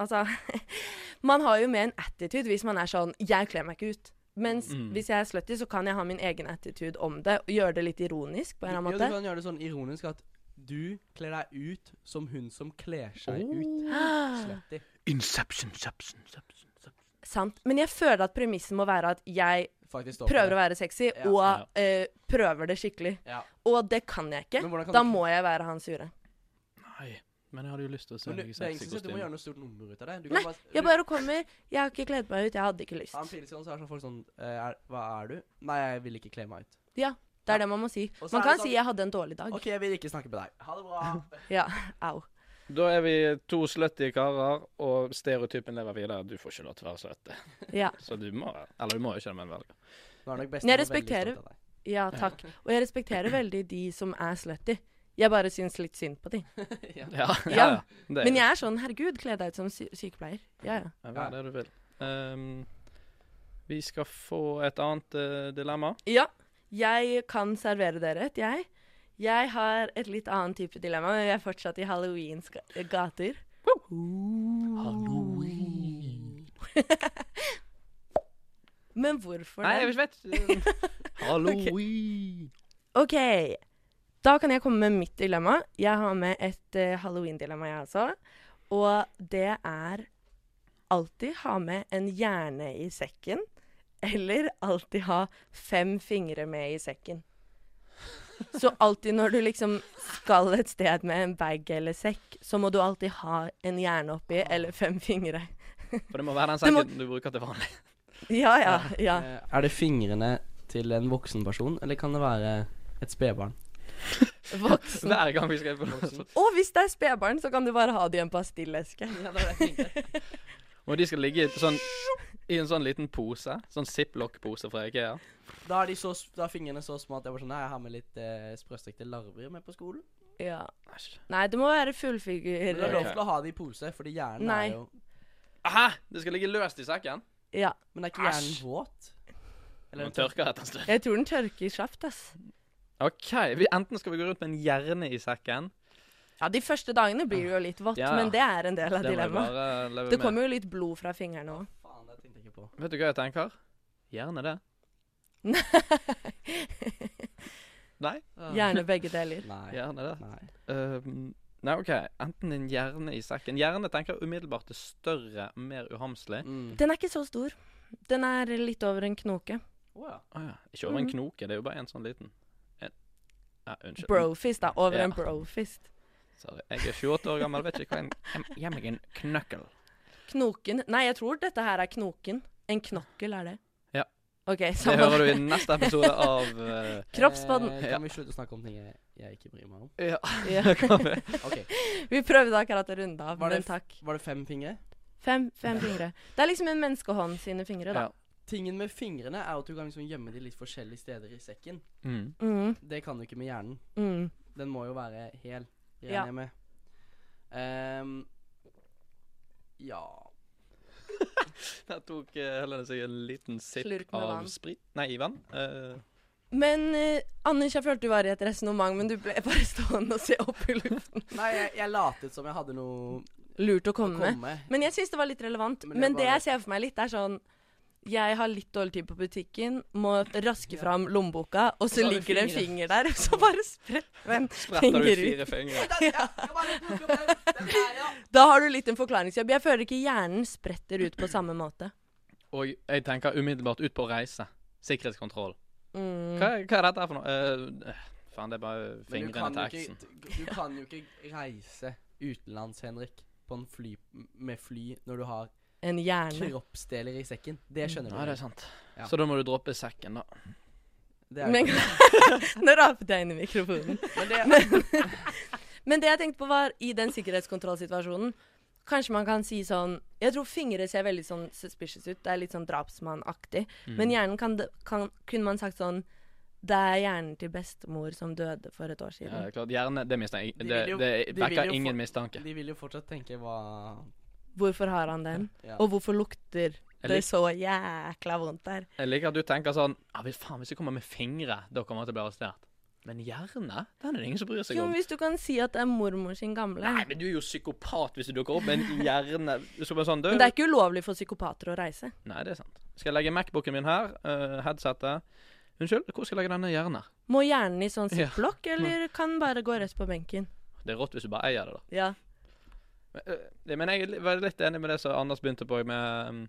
Speaker 2: Altså Man har jo mer en attitude hvis man er sånn 'Jeg kler meg ikke ut'. Mens
Speaker 1: Mm.
Speaker 2: hvis jeg er slutty, så kan jeg ha min egen attitude om det og gjøre det litt ironisk. på en eller
Speaker 3: Jo,
Speaker 2: annen
Speaker 3: du
Speaker 2: måte.
Speaker 3: kan gjøre det sånn ironisk at du kler deg ut som hun som kler seg
Speaker 2: Oh.
Speaker 3: ut.
Speaker 2: Ah,
Speaker 3: Slutty.
Speaker 1: Inception, subson, subson, subson.
Speaker 2: sant. Men jeg føler at premissen må være at jeg
Speaker 3: Faktisk står for
Speaker 2: prøver
Speaker 3: det.
Speaker 2: å være sexy
Speaker 3: Ja.
Speaker 2: og
Speaker 1: Ja.
Speaker 2: eh, prøver det skikkelig.
Speaker 3: Ja.
Speaker 2: Og det kan jeg ikke.
Speaker 3: Men hvordan kan
Speaker 2: Da
Speaker 3: du-
Speaker 2: må jeg være han sure.
Speaker 1: Nei, men jeg hadde jo lyst til å se
Speaker 3: Men du,
Speaker 1: meg i
Speaker 3: det er ingen
Speaker 1: sexy
Speaker 3: som sier at du må
Speaker 1: kostyme.
Speaker 3: gjøre noe stort nummer ut av det. Du kan
Speaker 2: Nei,
Speaker 3: bare,
Speaker 2: jeg bare kommer. Jeg har ikke kledd meg ut. Jeg hadde ikke
Speaker 3: du, Av en
Speaker 2: lyst.
Speaker 3: pileskål så er sånn folk sånn eh, er, Hva er du? Nei, jeg vil ikke kle meg ut.
Speaker 2: Ja, Det er det man må si.
Speaker 3: Og så
Speaker 2: Man
Speaker 3: er det
Speaker 2: kan
Speaker 3: sånn-
Speaker 2: si 'jeg hadde en dårlig dag'.
Speaker 3: OK, jeg vil ikke snakke med deg. Ha det bra.
Speaker 2: Ja, au.
Speaker 1: Da er vi to slutty karer, og stereotypen lever videre. Du får ikke lov til å være slutty.
Speaker 2: Ja.
Speaker 1: Så du må Eller du må jo ikke det, men velge.
Speaker 3: Nå er nok
Speaker 2: Men jeg
Speaker 3: bestemor veldig
Speaker 2: respekterer-
Speaker 3: stolt av deg.
Speaker 2: Ja, takk. Og jeg respekterer veldig de som er slutty. Jeg bare syns litt synd på de.
Speaker 1: Ja, ja,
Speaker 2: Ja.
Speaker 1: ja. Det er
Speaker 2: Men jeg er sånn, herregud, kle deg ut som sy sykepleier. Ja, ja.
Speaker 1: Ja, Vær det du vil. Ehm, vi skal få et annet eh, dilemma.
Speaker 2: Ja, jeg kan servere dere et, jeg. Jeg har et litt annet type dilemma, men vi er fortsatt i Halloweens ga- gater. Men hvorfor
Speaker 1: Nei, jeg
Speaker 2: det?
Speaker 1: vet ikke. Halloween.
Speaker 2: OK, da kan jeg komme med mitt dilemma. Jeg har med et eh, Halloween-dilemma, jeg også. Og det er alltid ha med en hjerne i sekken, eller alltid ha fem fingre med i sekken. Så alltid når du liksom skal et sted med en bag eller sekk, så må du alltid ha en hjerne oppi, eller fem fingre.
Speaker 1: For det må være den
Speaker 2: Det må-
Speaker 1: sekken du bruker til vanlig.
Speaker 2: Ja, ja, ja.
Speaker 3: Eh, Er det fingrene til en voksen person, eller kan det være et spedbarn?
Speaker 2: Voksen.
Speaker 1: Hver gang vi skal på noe.
Speaker 2: Og hvis det er spedbarn, så kan du bare ha det i en pastilleske.
Speaker 1: Og de skal ligge i, et sånn, i en sånn liten pose. Sånn ziplock-pose fra Ikea.
Speaker 3: Da er, de så, s- da er fingrene så små at jeg var sånn Nei, jeg har med litt eh, sprøstekte larver med på skolen.
Speaker 2: Ja.
Speaker 1: Æsj.
Speaker 2: Nei, det må være
Speaker 3: Men det er lov
Speaker 2: fullfigur.
Speaker 1: Ok.
Speaker 3: til å ha det i pose, fordi hjernen
Speaker 2: Nei.
Speaker 3: er jo
Speaker 1: Hæ? Det skal ligge løst i sekken?
Speaker 2: Ja.
Speaker 3: Men er ikke hjernen
Speaker 1: Æsj.
Speaker 3: våt? Eller
Speaker 1: Man tørker etter en stund.
Speaker 2: Jeg tror den tørker kjapt, ass.
Speaker 1: OK. Vi, enten skal vi gå rundt med en hjerne i sekken.
Speaker 2: Ja, de første dagene blir det jo litt vått,
Speaker 1: Ja, ja.
Speaker 2: men det er en del av
Speaker 1: Det må jeg
Speaker 2: dilemmaet.
Speaker 1: bare leve
Speaker 2: Det
Speaker 1: med.
Speaker 2: kommer jo litt blod fra fingrene òg.
Speaker 3: Faen, det tenkte jeg ikke på.
Speaker 1: Vet du hva jeg tenker? Gjerne det. Nei?
Speaker 2: Gjerne begge deler.
Speaker 3: Nei.
Speaker 1: Gjerne det.
Speaker 3: Nei.
Speaker 1: Ehm, nei, OK. Enten en hjerne i sekken. Hjerne tenker jeg umiddelbart er større, mer uhamslig.
Speaker 3: Mm.
Speaker 2: Den er ikke så stor. Den er litt over en knoke.
Speaker 3: Å ja.
Speaker 1: Å ja. Ikke over en
Speaker 2: Mhm.
Speaker 1: knoke, det er jo bare en sånn liten en. Nei, unnskyld.
Speaker 2: Brofist, da. Over
Speaker 1: Ja.
Speaker 2: en brofist.
Speaker 1: Sorry. Jeg er 28 år gammel, vet ikke hva en Gi- Gi meg en knøkkel.
Speaker 2: Knoken Nei, jeg tror dette her er knoken. En knokkel er det.
Speaker 1: Ja.
Speaker 2: OK,
Speaker 1: Det
Speaker 2: samme
Speaker 1: hører du i neste episode av eh,
Speaker 2: Kroppsbånd.
Speaker 3: Eh, kan vi slutte å snakke om ting jeg, jeg ikke bryr meg om?
Speaker 1: Ja.
Speaker 2: Ja.
Speaker 3: Ok,
Speaker 2: Vi prøvde akkurat å runde av,
Speaker 3: Var
Speaker 2: men
Speaker 3: det
Speaker 2: takk.
Speaker 3: Var det fem fingre?
Speaker 2: Fem, fem fingre. Det er liksom en menneskehånd sine fingre, da.
Speaker 1: ja.
Speaker 3: Tingen med fingrene er at du kan liksom gjemme de litt forskjellige steder i sekken.
Speaker 1: Mm.
Speaker 2: Mm,
Speaker 3: Det kan du ikke med hjernen.
Speaker 2: mm.
Speaker 3: Den må jo være hel, regner
Speaker 2: Ja.
Speaker 3: jeg med. Ehm, ja
Speaker 1: Der tok eh, Helene seg en liten
Speaker 2: Slurk
Speaker 1: sipp
Speaker 2: med
Speaker 1: av
Speaker 2: vann.
Speaker 1: sprit. Nei, i vann. Eh,
Speaker 2: Men eh, Anders, jeg følte du var i et resonnement, men du ble bare stående og se opp i luften.
Speaker 3: Nei, jeg, jeg latet som jeg hadde noe
Speaker 2: Lurt å
Speaker 3: å
Speaker 2: komme med.
Speaker 3: komme med.
Speaker 2: Men jeg syns det var litt relevant.
Speaker 3: Men
Speaker 2: Men,
Speaker 3: det var
Speaker 2: det
Speaker 3: litt-
Speaker 2: jeg ser for meg litt, er sånn Jeg har litt dårlig tid på butikken, må raske fram lommeboka, og så,
Speaker 3: Så har du
Speaker 2: ligger det en
Speaker 3: fingre.
Speaker 2: finger der, og så bare spretter en
Speaker 1: spretter
Speaker 2: finger
Speaker 1: ut
Speaker 2: ut.
Speaker 1: fire fingre.
Speaker 3: Den, ja, jeg bare plukker opp den. Den der, ja.
Speaker 2: Da har du litt en forklaringsjobb. Jeg føler ikke hjernen spretter ut på samme måte.
Speaker 1: Og jeg tenker umiddelbart ut på reise. Sikkerhetskontroll.
Speaker 2: Mm.
Speaker 1: Hva, hva er dette her for noe? Eh, eh, faen, det er bare
Speaker 3: Men du
Speaker 1: fingrene
Speaker 3: kan
Speaker 1: til
Speaker 3: jo
Speaker 1: eksen.
Speaker 3: ikke- Du kan jo ikke reise utenlands, Henrik, på en fly, med fly når du har
Speaker 2: En hjerne.
Speaker 3: kroppsdeler i sekken.
Speaker 2: Mm.
Speaker 3: Det skjønner du.
Speaker 1: Nei, det er
Speaker 3: vel?
Speaker 1: sant.
Speaker 3: Ja.
Speaker 1: Så da må du droppe sekken, da.
Speaker 3: Det er jo
Speaker 2: Men,
Speaker 3: ikke-
Speaker 2: nå rapet jeg inn i mikrofonen.
Speaker 3: men det,
Speaker 2: Men det jeg tenkte på, var i den sikkerhetskontrollsituasjonen Kanskje man kan si sånn Jeg tror fingre ser veldig sånn suspicious ut. Det er litt sånn drapsmannaktig.
Speaker 1: Mm.
Speaker 2: Men hjernen kan, d- kan Kunne man sagt sånn Det er hjernen til bestemor som døde for et år
Speaker 1: Ja,
Speaker 2: siden.
Speaker 1: det er klart, Gjerne Det mister jeg.
Speaker 3: De
Speaker 1: Det,
Speaker 3: vil jo-
Speaker 1: det
Speaker 3: de vil
Speaker 1: vekker
Speaker 3: jo
Speaker 1: ingen
Speaker 3: få-
Speaker 1: mistanke.
Speaker 3: De vil jo fortsatt tenke hva
Speaker 2: Hvorfor har han den?
Speaker 3: ja.
Speaker 2: Og hvorfor lukter
Speaker 1: Eller-
Speaker 2: det så jækla vondt der?
Speaker 1: Jeg liker at du tenker sånn ja, hvis, faen, hvis jeg kommer med fingre, da kommer jeg til å bli arrestert. Men hjerne? Den er det ingen som bryr seg
Speaker 2: Jo,
Speaker 1: om.
Speaker 2: men Hvis du kan si at det er mormor sin gamle
Speaker 1: Nei, men du er jo psykopat hvis du dukker opp med en hjerne som er sånn død.
Speaker 2: Men det er ikke ulovlig for psykopater å reise.
Speaker 1: Nei, det er sant. Skal jeg legge Macbooken min her? eh, headsetet. Unnskyld, hvor skal jeg legge denne hjernen? her?
Speaker 2: Må hjernen i sånn
Speaker 1: Ja.
Speaker 2: ziplock, eller kan bare gå rett på benken?
Speaker 1: Det er rått hvis du bare eier det, da.
Speaker 2: Ja.
Speaker 1: Men, eh, det- men jeg er li- var litt enig med det som Anders begynte på, med mm,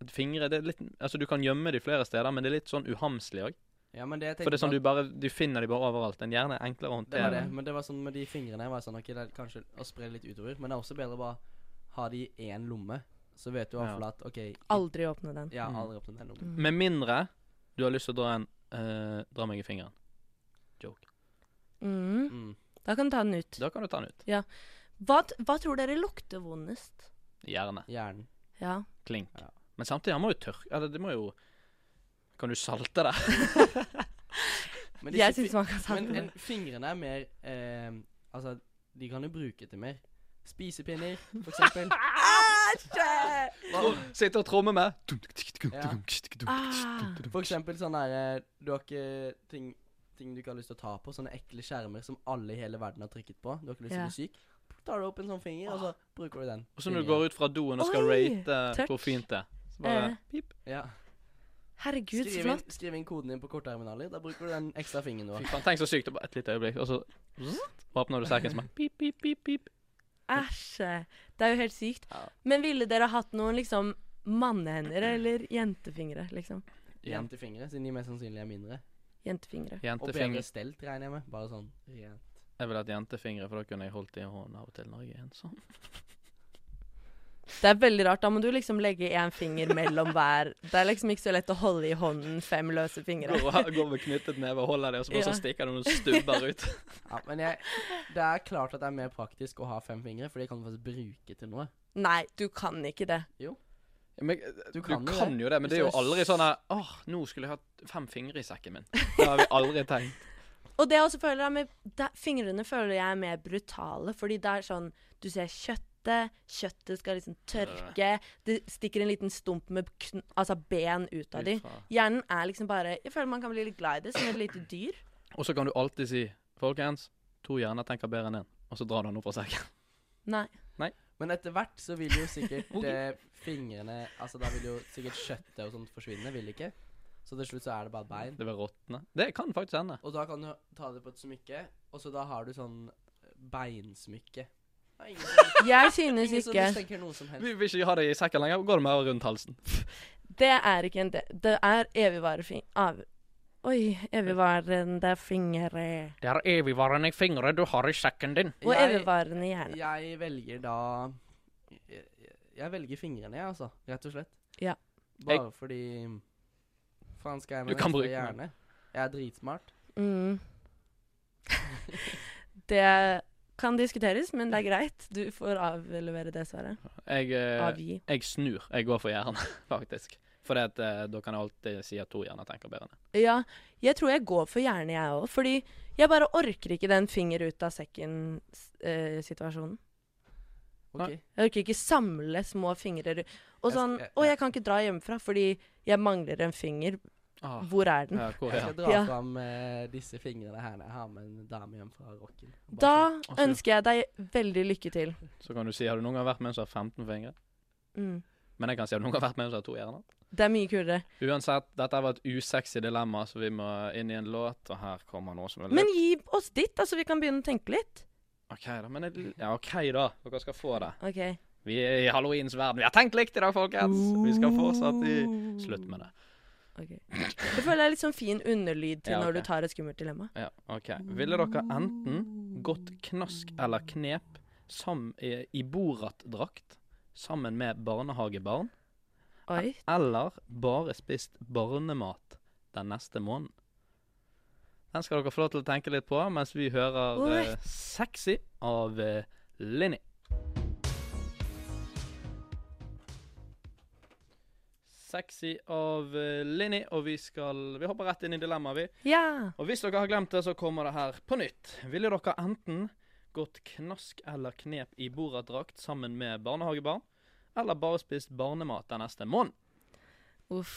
Speaker 1: at fingre det er litt, Altså, du kan gjemme de flere steder, men det er litt sånn uhamslig òg.
Speaker 3: ja, men det jeg tenkte
Speaker 1: For det er sånn
Speaker 3: på
Speaker 1: du
Speaker 3: at-
Speaker 1: bare Du finner de bare overalt. En hjerne er enklere å
Speaker 3: det
Speaker 1: håndtere.
Speaker 3: var det, men det var sånn med de fingrene var jeg sånn, ok, det er kanskje å spre det litt utover. Men det er også bedre å bare ha de i én lomme, så vet du i hvert
Speaker 1: Ja.
Speaker 3: fall at OK i-
Speaker 2: Aldri åpne den.
Speaker 3: Ja,
Speaker 1: Mm.
Speaker 3: aldri åpnet den lommen.
Speaker 1: Med mindre du har lyst til å dra en eh, Dra meg i fingeren.
Speaker 2: Mm.
Speaker 3: Mm.
Speaker 2: Da kan du ta den ut.
Speaker 1: Da kan du ta den ut.
Speaker 2: Hva, t- hva tror dere lukter vondest?
Speaker 1: Hjerne.
Speaker 3: Hjernen.
Speaker 2: Ja.
Speaker 1: Klink.
Speaker 3: Ja.
Speaker 1: Men samtidig, han må jo tørke Eller det må jo Kan du salte det?
Speaker 3: Men disse
Speaker 2: Jeg
Speaker 3: fi-
Speaker 2: syns man kan ta
Speaker 3: Men
Speaker 2: den.
Speaker 3: en, fingrene er mer eh, Altså, de kan du bruke til mer. Spisepinner, for eksempel.
Speaker 2: Æsj!
Speaker 1: Sitte og tromme med.
Speaker 3: Ja.
Speaker 2: Ah.
Speaker 3: For eksempel sånn derre Du har ikke ting, ting du ikke har lyst til å ta på. Sånne ekle skjermer som alle i hele verden har trykket på. Du har ikke lyst til å
Speaker 2: Ja.
Speaker 3: bli syk. Tar du opp en sånn finger, og så bruker du den.
Speaker 1: Og så når du går ut fra doen og skal
Speaker 2: Oi,
Speaker 1: rate
Speaker 2: tørt.
Speaker 1: hvor fint det er, så
Speaker 2: Eh.
Speaker 1: bare pip.
Speaker 3: Ja.
Speaker 2: Herregud, så
Speaker 3: Skriv inn,
Speaker 2: flott.
Speaker 3: skriv inn koden din på kortterminaler. Da bruker du den ekstra fingeren du
Speaker 1: Fy
Speaker 3: har.
Speaker 1: faen, tenk så sykt. det er Bare et lite øyeblikk, og så zzzt, åpner du sekken som er pip, pip, pip, pip.
Speaker 2: Æsj. Det er jo helt sykt.
Speaker 3: Ja.
Speaker 2: Men ville dere hatt noen liksom mannehender eller jentefingre, liksom?
Speaker 1: Jen-
Speaker 3: Jentefingre, siden de mest sannsynlig er mindre.
Speaker 2: Jentefingre.
Speaker 3: Og bedre
Speaker 1: Jentefingre.
Speaker 3: stelt, regner jeg med. Bare sånn rent.
Speaker 1: Jeg ville hatt jentefingre, for da kunne jeg holdt i hånden av og til når jeg er sånn. ensom.
Speaker 2: Det er veldig rart. Da må du liksom legge én finger mellom hver. Det er liksom ikke så lett å holde i hånden fem løse fingre.
Speaker 1: Går, går med knyttet neve og holder det, og så bare
Speaker 2: Ja.
Speaker 1: så stikker det noen stubber ut.
Speaker 3: Ja, men jeg, det er klart at det er mer praktisk å ha fem fingre, for de kan du faktisk bruke til noe.
Speaker 2: Nei, du kan ikke det.
Speaker 1: Men,
Speaker 3: Du
Speaker 1: du
Speaker 3: kan
Speaker 1: kan,
Speaker 3: jo det.
Speaker 1: jo det, men
Speaker 3: Hvis
Speaker 1: det er
Speaker 3: du
Speaker 1: jo
Speaker 3: er
Speaker 1: aldri sånn her Åh, nå skulle jeg hatt fem fingre i sekken min. Det har vi aldri tenkt.
Speaker 2: Og det jeg også føler er med da, Fingrene føler jeg er mer brutale, fordi det er sånn Du ser kjøttet, kjøttet skal liksom tørke, det stikker en liten stump med kn altså ben ut av de.
Speaker 1: ut fra-
Speaker 2: Hjernen er liksom bare Jeg føler man kan bli litt glad i det, som et lite dyr.
Speaker 1: Og så kan du alltid si Folkens, to hjerner tenker bedre enn én. Og så drar du den opp fra sekken.
Speaker 2: Nei.
Speaker 3: Men etter hvert så vil jo sikkert
Speaker 1: Ok.
Speaker 3: eh, fingrene Altså da vil jo sikkert kjøttet og sånt forsvinne, vil det ikke? Så til slutt så er det bare bein.
Speaker 1: Det vil råtne. Det kan faktisk hende.
Speaker 3: Og da kan du ta det på et smykke, og så da har du sånn beinsmykke. Det er Ingen som,
Speaker 2: Jeg synes
Speaker 3: ingen som
Speaker 2: ikke
Speaker 3: mistenker noe som helst.
Speaker 1: Vi vil ikke ha det i sekken lenger. Går det mer rundt halsen?
Speaker 2: Det er ikke en del Det er evigvarende fing... Av Oi. Evigvarende fingre.
Speaker 1: Det er evigvarende fingre du har i sekken din.
Speaker 2: Og
Speaker 3: Jeg,
Speaker 2: evigvarende hjerne.
Speaker 3: jeg velger da jeg, jeg velger fingrene, jeg, altså. Rett og slett.
Speaker 2: Ja.
Speaker 3: Bare fordi Faen skal jeg
Speaker 1: Du
Speaker 3: med
Speaker 1: kan
Speaker 3: en ekstra
Speaker 1: bruke den.
Speaker 3: hjerne? Jeg er dritsmart.
Speaker 2: Mm. Det kan diskuteres, men det er greit. Du får avlevere det svaret.
Speaker 1: Jeg, eh,
Speaker 2: Avgi.
Speaker 1: jeg snur. Jeg går for hjernen, faktisk. For det at, eh, da kan jeg alltid si at to hjerner tenker bedre enn én.
Speaker 2: Ja, jeg tror jeg går for hjerne, jeg òg. Fordi jeg bare orker ikke den finger ut av sekken-situasjonen.
Speaker 3: Ok.
Speaker 2: jeg orker ikke samle små fingre ru- Og
Speaker 3: Jeg sk-
Speaker 2: sånn
Speaker 3: jeg-
Speaker 2: Å, jeg kan ikke dra hjemmefra fordi jeg mangler en finger.
Speaker 1: Ah,
Speaker 2: Hvor er den?
Speaker 1: ja, hvor
Speaker 3: Jeg
Speaker 1: er
Speaker 3: skal
Speaker 1: den?
Speaker 3: dra
Speaker 2: Ja.
Speaker 3: fram eh, disse fingrene her når jeg har med en dame hjem fra rocken. Bare
Speaker 2: Da
Speaker 1: sånn.
Speaker 2: ønsker jeg deg veldig lykke til.
Speaker 1: Så kan du si har du noen gang vært med en som har 15 fingre?
Speaker 2: Mm.
Speaker 1: Men jeg kan si har du noen gang vært med en som har to hjerner?
Speaker 2: Det er mye kulere.
Speaker 1: Uansett, dette var et usexy dilemma, så vi må inn i en låt, og her kommer noe som er
Speaker 2: Men
Speaker 1: litt
Speaker 2: gi oss ditt, altså. Vi kan begynne å tenke litt.
Speaker 1: OK, da. Men jeg, ja, OK, da. Dere skal få det.
Speaker 2: OK.
Speaker 1: Vi er i halloweens verden. Vi har tenkt likt i dag, folkens. Vi skal fortsatt i Slutt med det.
Speaker 2: Ok. Jeg føler det er litt sånn fin underlyd til
Speaker 1: Ja, ok.
Speaker 2: når du tar et skummelt dilemma.
Speaker 1: Ja, OK. Ville dere enten gått knask eller knep sam i, i Borat-drakt sammen med barnehagebarn,
Speaker 2: Oi.
Speaker 1: eller bare spist barnemat den neste måneden? Den skal dere få lov til å tenke litt på mens vi hører eh, 'Sexy' av eh, Linni. Sexy av eh, Linni, og vi skal Vi hopper rett inn i dilemmaet, vi.
Speaker 2: Ja.
Speaker 1: Og hvis dere har glemt det, så kommer det her på nytt. Ville dere enten gått knask eller knep i Borat-drakt sammen med barnehagebarn, eller bare spist barnemat den neste måneden?
Speaker 2: Uff.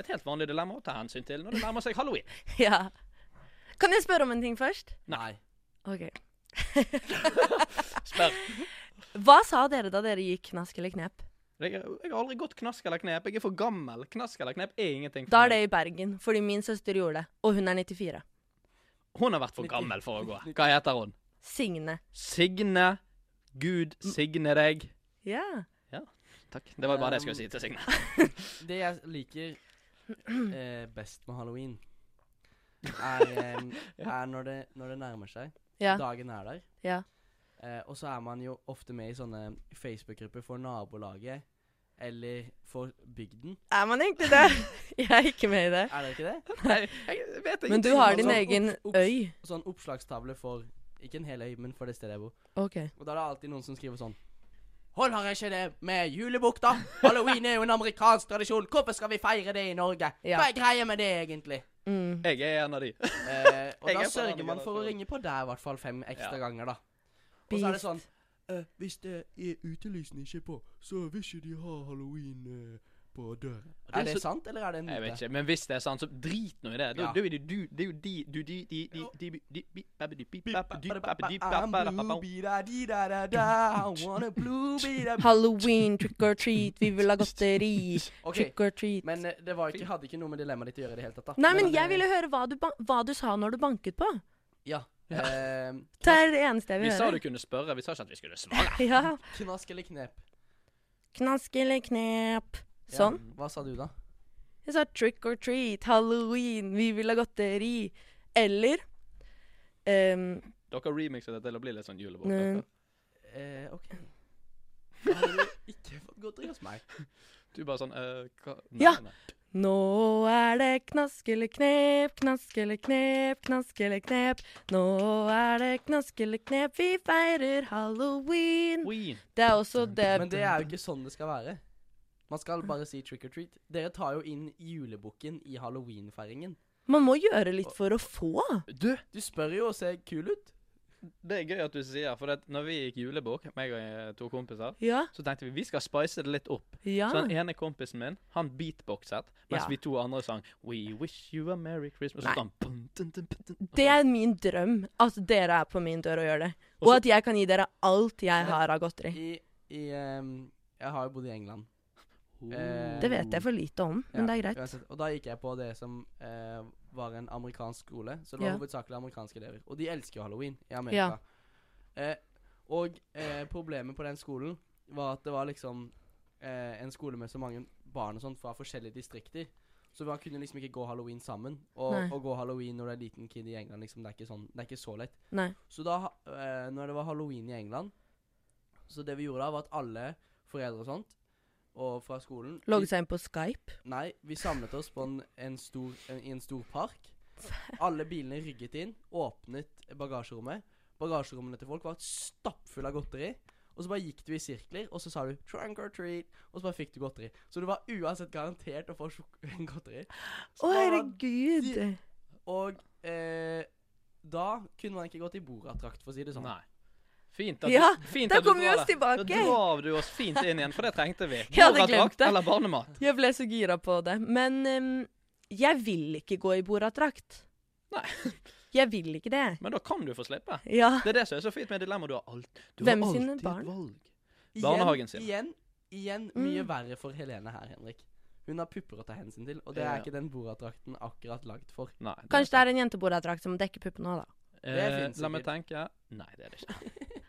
Speaker 1: Et helt vanlig dilemma å ta hensyn til når det nærmer seg halloween.
Speaker 2: Ja. Kan jeg spørre om en ting først?
Speaker 3: Nei.
Speaker 2: OK.
Speaker 1: Spør.
Speaker 2: Hva sa dere da dere gikk knask eller knep?
Speaker 1: Jeg, jeg har aldri gått knask eller knep. Jeg er for gammel. Knask eller knep er ingenting for
Speaker 2: Da er det
Speaker 1: meg.
Speaker 2: i Bergen, fordi min søster gjorde det. Og hun er 94.
Speaker 1: Hun har vært for gammel for å gå. Hva heter hun?
Speaker 2: Signe.
Speaker 1: Signe. Gud
Speaker 2: Mm.
Speaker 1: signe deg.
Speaker 2: Ja.
Speaker 1: Takk. Det var bare det jeg skulle si til Signe.
Speaker 3: Det jeg liker eh, best med halloween, er, em, er når, det, når det nærmer seg.
Speaker 2: Ja.
Speaker 3: Dagen er der.
Speaker 2: Ja.
Speaker 3: Eh, og så er man jo ofte med i sånne Facebook-grupper for nabolaget eller for bygden.
Speaker 2: Er man egentlig det? Jeg er ikke med i det.
Speaker 3: Er det ikke det?
Speaker 1: Nei, jeg vet
Speaker 2: Men du
Speaker 1: ingenting om
Speaker 2: har
Speaker 1: det.
Speaker 2: din
Speaker 3: sånn
Speaker 2: egen
Speaker 3: obs- obs.
Speaker 2: øy.
Speaker 3: Sånn oppslagstavle for Ikke en hel øy, men for det stedet jeg bor.
Speaker 2: OK.
Speaker 3: Og da er det alltid noen som skriver sånn Hold har jeg ikke det med julebukk, da? Halloween er jo en amerikansk tradisjon. Hvorfor skal vi feire det i Norge?
Speaker 2: Ja.
Speaker 3: Hva er greia med det, egentlig?
Speaker 2: Mm.
Speaker 1: Jeg er en av de.
Speaker 3: Eh,
Speaker 1: Jeg
Speaker 3: og da
Speaker 1: er på den
Speaker 3: sørger
Speaker 1: andre
Speaker 3: man for å
Speaker 1: generasjonen.
Speaker 3: ringe på der i hvert fall fem ekstra
Speaker 1: Ja.
Speaker 3: ganger, da. Og så er det
Speaker 2: Beast.
Speaker 3: sånn eh, Hvis det er utelysene ikke på, så vil ikke de ha halloween eh, på døra.
Speaker 1: er
Speaker 3: Er det
Speaker 1: så-
Speaker 3: sant, eller er det en myte?
Speaker 1: Jeg vet ikke, men hvis det er sant, så drit nå i det. Da-
Speaker 3: Ja.
Speaker 1: da er Det du- det er jo de du de de de de de- de- bi- babbe- di- bi- babbe- di- babbe- di- babbe- da- babbe-
Speaker 3: I'm blue, da di da da da I wanna blue, da
Speaker 2: Halloween, trick or treat, vi vil ha godteri.
Speaker 3: Ok,
Speaker 2: Trick or treat.
Speaker 3: men eh, det var ikke, hadde ikke noe med dilemmaet ditt å gjøre i det hele tatt, da.
Speaker 2: Nei, men
Speaker 3: eh,
Speaker 2: jeg ville høre hva du, ba hva du sa når du banket på.
Speaker 3: Ja. Eh,
Speaker 2: Det er det eneste jeg
Speaker 1: Vi
Speaker 2: vil
Speaker 1: sa du
Speaker 2: høre.
Speaker 1: kunne spørre, vi sa ikke at vi skulle svare.
Speaker 2: Ja.
Speaker 3: knask eller knep?
Speaker 2: Knask eller knep.
Speaker 3: Ja,
Speaker 2: Sånn.
Speaker 3: Hva sa du, da?
Speaker 2: Jeg sa trick or treat, halloween, vi vil ha godteri. Eller ehm,
Speaker 1: Dere remixer det til å bli litt sånn julebok.
Speaker 2: Nei.
Speaker 1: dere.
Speaker 3: Eh, OK. Da hadde du ikke fått godteri hos meg.
Speaker 1: Du bare sånn øh, hva? Nei,
Speaker 2: Ja.
Speaker 1: nei.
Speaker 2: Nå er det knask eller knep, knask eller knep, knask eller knep. Nå er det knask eller knep, vi feirer halloween.
Speaker 1: Oi.
Speaker 2: Det er også det
Speaker 3: Men det er jo ikke sånn det skal være. Man skal bare si trick or treat. Dere tar jo inn julebukken i halloweenfeiringen.
Speaker 2: Man må gjøre litt for å få.
Speaker 1: Du,
Speaker 3: Du spør jo og ser kul ut.
Speaker 1: det er gøy at du sier, for det, at når vi gikk julebok, meg og eh, to kompiser,
Speaker 2: Ja.
Speaker 1: så tenkte vi vi skal spice det litt opp.
Speaker 2: Ja.
Speaker 1: Så den ene kompisen min, han beatboxet, mens
Speaker 2: Ah. Ja.
Speaker 1: vi to andre sang We wish you a merry Christmas.
Speaker 2: Nei.
Speaker 1: Og så sånn, bum, dun, dun, dun, dun.
Speaker 2: Det er min drøm. At dere er på min dør og gjør det.
Speaker 1: Og
Speaker 2: Og
Speaker 1: så-
Speaker 2: at jeg kan gi dere alt jeg har av godteri.
Speaker 3: I, i ehm, Jeg har jo bodd i England.
Speaker 1: Oh.
Speaker 2: Det vet jeg for lite om, men det er greit.
Speaker 3: uansett. Og da gikk jeg på det som eh, var en amerikansk skole. Så det var
Speaker 2: Ja.
Speaker 3: hovedsakelig amerikanske elever. Og de elsker jo halloween i Amerika. Eh, og eh, problemet på den skolen var at det var liksom eh, en skole med så mange barn og sånt fra forskjellige distrikter. Så man kunne liksom ikke gå halloween sammen. Og
Speaker 2: Nei.
Speaker 3: å gå halloween når du er liten kid i England, liksom, det er ikke, sånn, det er ikke så lett.
Speaker 2: Nei.
Speaker 3: Så da, ha- eh, når det var halloween i England, så det vi gjorde da, var at alle foreldre og sånt, og fra skolen
Speaker 2: Logge seg inn på Skype.
Speaker 3: Nei, vi samlet oss på en, en stor, en, i en stor park. Alle bilene rygget inn, åpnet bagasjerommet. Bagasjerommene til folk var stappfulle av godteri. Og så bare gikk du i sirkler, og så sa du 'trunk or treat', og så bare fikk du godteri. Så du var uansett garantert å få sjok- godteri. Så
Speaker 2: Å,
Speaker 3: det var-
Speaker 2: herregud.
Speaker 3: Og eh, da kunne man ikke gått i bordattrakt, for å si det sånn.
Speaker 1: Nei. Fint at,
Speaker 2: Ja,
Speaker 1: du- fint
Speaker 2: da
Speaker 1: at du
Speaker 2: kom vi
Speaker 1: drar
Speaker 2: oss
Speaker 1: det. Da
Speaker 2: tilbake.
Speaker 1: drar du oss fint inn igjen, for det trengte vi.
Speaker 2: Jeg hadde
Speaker 1: Bordattrakt
Speaker 2: glemt det.
Speaker 1: Eller barnemat.
Speaker 2: Jeg ble så gira på det. Men ehm, jeg vil ikke gå i bordattrakt.
Speaker 1: Nei.
Speaker 2: Jeg vil ikke det.
Speaker 1: Men da kan du få slippe.
Speaker 2: Ja.
Speaker 1: Det er det som er så fint med dilemmaet. Du har, alt, du
Speaker 2: Hvem
Speaker 1: har
Speaker 2: sine
Speaker 1: alltid
Speaker 2: barn?
Speaker 1: et valg.
Speaker 3: Igjen,
Speaker 1: Barnehagen sin.
Speaker 3: Igjen, igjen mye
Speaker 2: Mm.
Speaker 3: verre for Helene her, Henrik. Hun har pupper å ta hensyn til, og det
Speaker 1: Ja,
Speaker 3: er
Speaker 1: ja.
Speaker 3: ikke den bordattrakten akkurat lagd for.
Speaker 1: Nei,
Speaker 2: Kanskje det er en jentebordattrakt som dekker puppene òg, da.
Speaker 1: eh,
Speaker 3: finnes
Speaker 1: La meg
Speaker 3: sikkert.
Speaker 1: tenke Nei, det er det ikke.